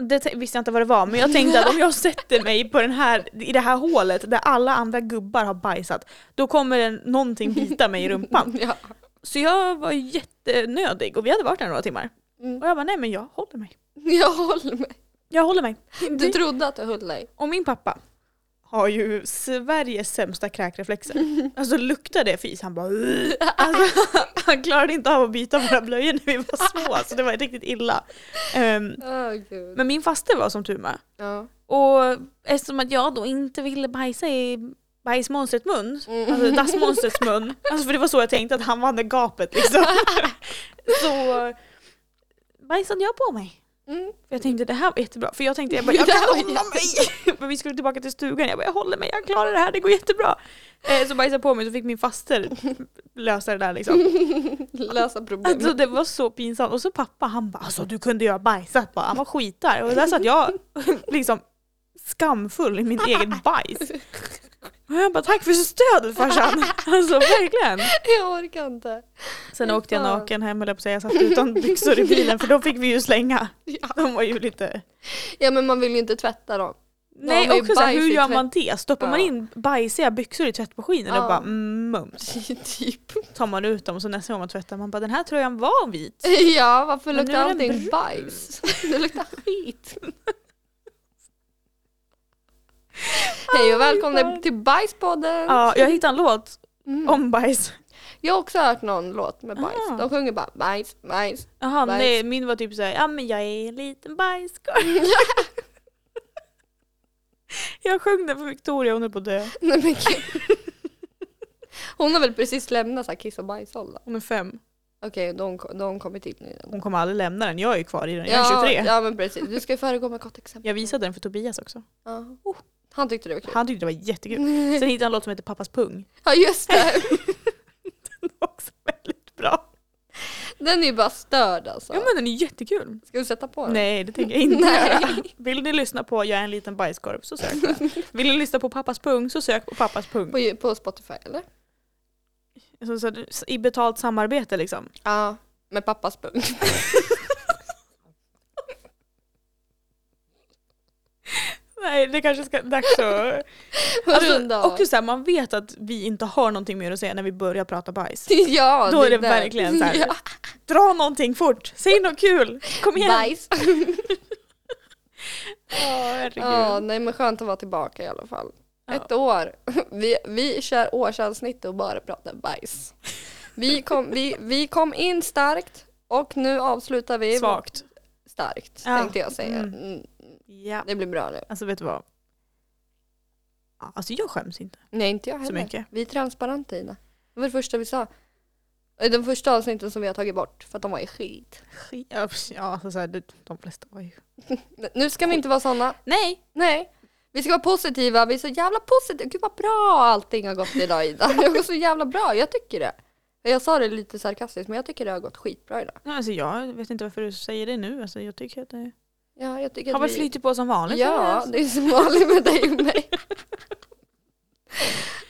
[SPEAKER 2] det t- visste jag inte vad det var, men jag tänkte att om jag sätter mig på den här, i det här hålet där alla andra gubbar har bajsat, då kommer det någonting bita mig
[SPEAKER 1] *laughs*
[SPEAKER 2] i rumpan.
[SPEAKER 1] Ja.
[SPEAKER 2] Så jag var jättenödig och vi hade varit där några timmar.
[SPEAKER 1] Mm.
[SPEAKER 2] Och jag bara, nej men jag håller mig.
[SPEAKER 1] *laughs* Jag håller med.
[SPEAKER 2] Jag håller mig.
[SPEAKER 1] Du trodde att du höll dig.
[SPEAKER 2] Och min pappa har ju Sveriges sämsta kräkreflexer. Alltså luktar det fis, han bara "Ugh." alltså, *laughs* Han klarade inte av att byta våra blöjor när vi var små, så det var riktigt illa. Ehm,
[SPEAKER 1] Åh gud.
[SPEAKER 2] men min faste var som tur med.
[SPEAKER 1] Ja.
[SPEAKER 2] Och eftersom att jag då inte ville bajsa i bajsmonstret mun,
[SPEAKER 1] Mm.
[SPEAKER 2] alltså dassmonstrets mun, alltså för det var så jag tänkte att han var det gapet liksom. så bajsade jag på mig.
[SPEAKER 1] Mm.
[SPEAKER 2] För jag tänkte det här var jättebra, för jag tänkte jag, bara, jag
[SPEAKER 1] Det här var
[SPEAKER 2] kan hålla mig. *laughs* Men vi skulle tillbaka till stugan, jag bara jag håller mig, jag klarar det här, det går jättebra. Eh, så bajsade jag på mig så fick min faster lösa det där liksom.
[SPEAKER 1] *laughs* Lösa problem.
[SPEAKER 2] Alltså det var så pinsamt. Och så pappa han bara alltså du kunde ju ha bajsat bara. Han var skitar. Och där satt jag *laughs* liksom skamfull i min egen
[SPEAKER 1] *laughs*
[SPEAKER 2] bajs. Och jag bara tack för stödet farsan. Alltså verkligen.
[SPEAKER 1] *laughs* Jag orkar inte.
[SPEAKER 2] Sen
[SPEAKER 1] Fy
[SPEAKER 2] åkte jag
[SPEAKER 1] fan.
[SPEAKER 2] naken hem höll jag på att säga. Jag
[SPEAKER 1] *laughs*
[SPEAKER 2] satt utan byxor i bilen för de fick vi ju slänga. De var ju lite...
[SPEAKER 1] Ja men man vill ju inte tvätta dem. *laughs*
[SPEAKER 2] Nej
[SPEAKER 1] men
[SPEAKER 2] också så här,
[SPEAKER 1] bajs
[SPEAKER 2] hur
[SPEAKER 1] i
[SPEAKER 2] gör
[SPEAKER 1] tvätt-
[SPEAKER 2] man det? Stoppar man
[SPEAKER 1] Ja.
[SPEAKER 2] in bajsiga byxor i tvättmaskinen
[SPEAKER 1] Ja.
[SPEAKER 2] och bara mm, mums.
[SPEAKER 1] typ.
[SPEAKER 2] Tar man ut dem och så nästa gång man tvättar man bara den här tröjan var vit.
[SPEAKER 1] *laughs* Ja varför
[SPEAKER 2] Men nu
[SPEAKER 1] luktar
[SPEAKER 2] är den
[SPEAKER 1] allting
[SPEAKER 2] brun.
[SPEAKER 1] bajs? *laughs* Det luktar skit. *laughs* Hej och välkomna
[SPEAKER 2] fan.
[SPEAKER 1] till Bajspodden.
[SPEAKER 2] Ja, jag hittade en låt
[SPEAKER 1] Mm.
[SPEAKER 2] om bajs.
[SPEAKER 1] Jag har också hört någon låt med bajs.
[SPEAKER 2] Ah.
[SPEAKER 1] De sjunger bara bajs, bajs. *laughs*
[SPEAKER 2] Jaha,
[SPEAKER 1] Bajs. Mm.
[SPEAKER 2] nej, min var typ såhär, ja men jag är en liten bajskorv. *laughs* jag sjöng den för Victoria, hon är på att dö.
[SPEAKER 1] Nej men
[SPEAKER 2] *laughs*
[SPEAKER 1] gud. Hon har väl precis lämnat så här kiss och bajsåldern.
[SPEAKER 2] Hon är fem.
[SPEAKER 1] Okej, de, de kommer till nu.
[SPEAKER 2] Hon kommer aldrig lämna den, jag är ju kvar i den, jag är 23.
[SPEAKER 1] Ja men precis, du ska föregå med gott exempel.
[SPEAKER 2] Jag visade den för Tobias också.
[SPEAKER 1] Ja. Han tyckte det var kul.
[SPEAKER 2] Han tyckte det var
[SPEAKER 1] Mm.
[SPEAKER 2] jättekul. Sen hittade han en låt som heter Pappas pung.
[SPEAKER 1] *laughs*
[SPEAKER 2] *laughs*
[SPEAKER 1] Ja just det,
[SPEAKER 2] Den var också väldigt bra.
[SPEAKER 1] den är ju bara störd alltså.
[SPEAKER 2] Ja men den är jättekul.
[SPEAKER 1] Ska du sätta på den?
[SPEAKER 2] Nej, det tänker jag inte
[SPEAKER 1] Nej.
[SPEAKER 2] göra. *laughs* Vill ni lyssna på Jag är en liten bajskorv så sök på den.
[SPEAKER 1] *laughs*
[SPEAKER 2] Vill ni lyssna på Pappas pung så sök på Pappas pung.
[SPEAKER 1] På, på Spotify eller?
[SPEAKER 2] Så, så, I betalt samarbete liksom.
[SPEAKER 1] Ja, med pappas
[SPEAKER 2] *laughs*
[SPEAKER 1] pung.
[SPEAKER 2] Alltså, Nej, det kanske ska dags att...
[SPEAKER 1] Runda
[SPEAKER 2] Alltså,
[SPEAKER 1] av.
[SPEAKER 2] också så här, man vet att vi inte har någonting mer att säga när vi börjar prata bajs.
[SPEAKER 1] *laughs* ja,
[SPEAKER 2] Då är det
[SPEAKER 1] där.
[SPEAKER 2] verkligen så här, *laughs*
[SPEAKER 1] Ja.
[SPEAKER 2] dra någonting fort, säg något kul, kom igen!
[SPEAKER 1] Bajs.
[SPEAKER 2] Ja, herregud.
[SPEAKER 1] Ja, nej men skönt att vara tillbaka i alla fall. Ett år. *laughs* Vi, vi kör årsavsnitt och bara pratar bajs. Vi kom, vi, vi kom in starkt och nu avslutar vi
[SPEAKER 2] Svagt.
[SPEAKER 1] starkt
[SPEAKER 2] Ja.
[SPEAKER 1] tänkte jag säga.
[SPEAKER 2] Mm.
[SPEAKER 1] Mm,
[SPEAKER 2] Ja.
[SPEAKER 1] det blir bra nu.
[SPEAKER 2] Alltså vet du vad? Ja, Alltså jag skäms inte
[SPEAKER 1] Nej inte jag
[SPEAKER 2] så
[SPEAKER 1] heller.
[SPEAKER 2] mycket.
[SPEAKER 1] Vi är transparenta Ina. Det var det första vi sa. Eh, De första avsnitten som vi har tagit bort för att de var i skit.
[SPEAKER 2] Skit. Ja, pff, Ja, alltså så här, det- de flesta var ju...
[SPEAKER 1] Nu ska vi inte vara sådana.
[SPEAKER 2] Nej!
[SPEAKER 1] Nej. Vi ska vara positiva, vi är så jävla positiva. Gud vad bra allting har gått idag Ida. Det går så jävla bra, jag tycker det. Jag sa det lite sarkastiskt men jag tycker det har gått skitbra idag.
[SPEAKER 2] Alltså jag vet inte varför du säger det nu. Alltså, jag tycker att det
[SPEAKER 1] Ja, jag tycker
[SPEAKER 2] har
[SPEAKER 1] att
[SPEAKER 2] väl flyttit på som vanligt. Alltså,
[SPEAKER 1] Ja, det är som vanligt med dig och
[SPEAKER 2] *laughs*
[SPEAKER 1] mig.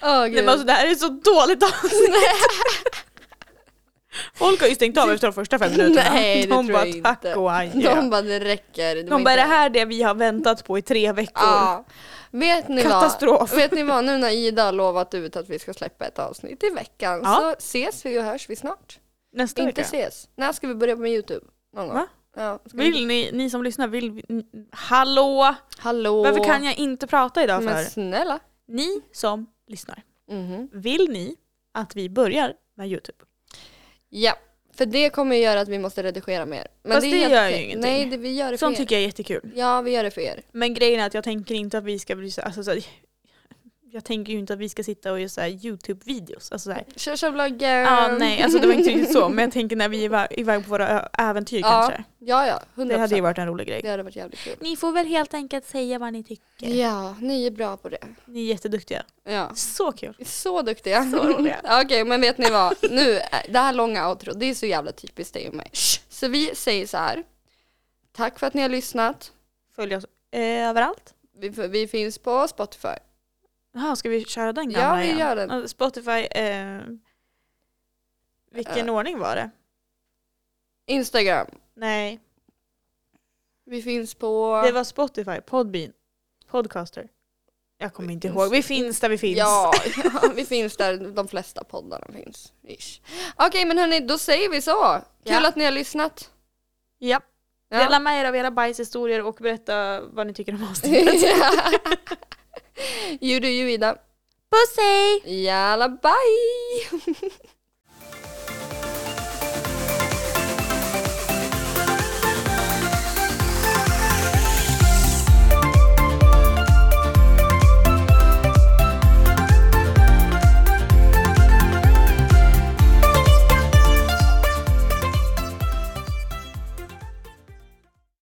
[SPEAKER 1] Åh
[SPEAKER 2] Nej,
[SPEAKER 1] gud.
[SPEAKER 2] men alltså, det här är så dåligt avsnitt. *laughs* Folk har ju stängt av efter de första fem minuterna.
[SPEAKER 1] Nej, det
[SPEAKER 2] de
[SPEAKER 1] tror
[SPEAKER 2] bara,
[SPEAKER 1] jag inte.
[SPEAKER 2] tack och adjö.
[SPEAKER 1] De
[SPEAKER 2] De,
[SPEAKER 1] bara det räcker. var
[SPEAKER 2] bara, det
[SPEAKER 1] inte-
[SPEAKER 2] här är det vi har väntat på i tre veckor.
[SPEAKER 1] Ja. Vet ni
[SPEAKER 2] Katastrof.
[SPEAKER 1] vad? Vet ni vad? Nu när Ida har lovat ut att vi ska släppa ett avsnitt i veckan
[SPEAKER 2] Ja.
[SPEAKER 1] så ses vi och hörs vi snart.
[SPEAKER 2] Nästa
[SPEAKER 1] Inte
[SPEAKER 2] vecka.
[SPEAKER 1] ses. När ska vi börja med Youtube? Någon gång?
[SPEAKER 2] Va?
[SPEAKER 1] Ja, ska vi-
[SPEAKER 2] Vill ni, ni som lyssnar, vill vi- n- Hallå!
[SPEAKER 1] Hallå?
[SPEAKER 2] Varför kan jag inte prata idag för?
[SPEAKER 1] Men snälla.
[SPEAKER 2] Ni som lyssnar,
[SPEAKER 1] Mhm.
[SPEAKER 2] vill ni att vi börjar med Youtube?
[SPEAKER 1] Ja, för det kommer ju göra att vi måste redigera mer. Men
[SPEAKER 2] Fast det
[SPEAKER 1] helt
[SPEAKER 2] gör ju
[SPEAKER 1] okej.
[SPEAKER 2] ingenting.
[SPEAKER 1] Nej, det, vi gör det för
[SPEAKER 2] Sånt
[SPEAKER 1] er.
[SPEAKER 2] tycker jag är jättekul.
[SPEAKER 1] Ja, vi gör det för er.
[SPEAKER 2] Men grejen är att jag tänker inte att vi ska bli så, alltså, så här- jag tänker ju inte att vi ska sitta och göra så här Youtube-videos. Alltså, så här,
[SPEAKER 1] Kör kör vloggen.
[SPEAKER 2] Ja, nej, alltså det var *laughs* inte riktigt så. Men jag tänker när vi är iväg på våra ö- äventyr
[SPEAKER 1] Ja,
[SPEAKER 2] kanske.
[SPEAKER 1] Ja, ja. 100%.
[SPEAKER 2] Det hade ju varit en rolig grej.
[SPEAKER 1] det hade varit jävligt kul.
[SPEAKER 2] Ni får väl helt enkelt säga vad ni tycker.
[SPEAKER 1] Ja, ni är bra på det.
[SPEAKER 2] Ni är jätteduktiga.
[SPEAKER 1] Ja.
[SPEAKER 2] Så kul.
[SPEAKER 1] Så duktiga.
[SPEAKER 2] Så
[SPEAKER 1] *laughs*
[SPEAKER 2] roliga.
[SPEAKER 1] Okej, men vet ni vad? Nu, eh, det här långa outro, det är så jävla typiskt dig och mig. Så vi säger så här. Tack för att ni har lyssnat.
[SPEAKER 2] Följ oss eh, överallt.
[SPEAKER 1] Vi, vi finns på Spotify.
[SPEAKER 2] Jaha, ska vi köra den
[SPEAKER 1] Ja,
[SPEAKER 2] gamla
[SPEAKER 1] vi
[SPEAKER 2] igen?
[SPEAKER 1] gör den.
[SPEAKER 2] Alltså, Spotify, eh, vilken ordning var det?
[SPEAKER 1] Instagram.
[SPEAKER 2] Nej,
[SPEAKER 1] Vi finns på...
[SPEAKER 2] det var Spotify, Podbean, Podcaster. Jag kommer inte ihåg. Vi finns där vi finns.
[SPEAKER 1] Ja, ja, vi finns där de flesta poddarna finns. Ish. Okej, men hörni, då säger vi så. Kul
[SPEAKER 2] Ja.
[SPEAKER 1] att ni har lyssnat.
[SPEAKER 2] Ja.
[SPEAKER 1] Ja.
[SPEAKER 2] Dela med er av era bajshistorier och berätta vad ni tycker om oss.
[SPEAKER 1] *laughs* you do you, Ida.
[SPEAKER 2] *laughs* Puss hej!
[SPEAKER 1] Jalla, bye!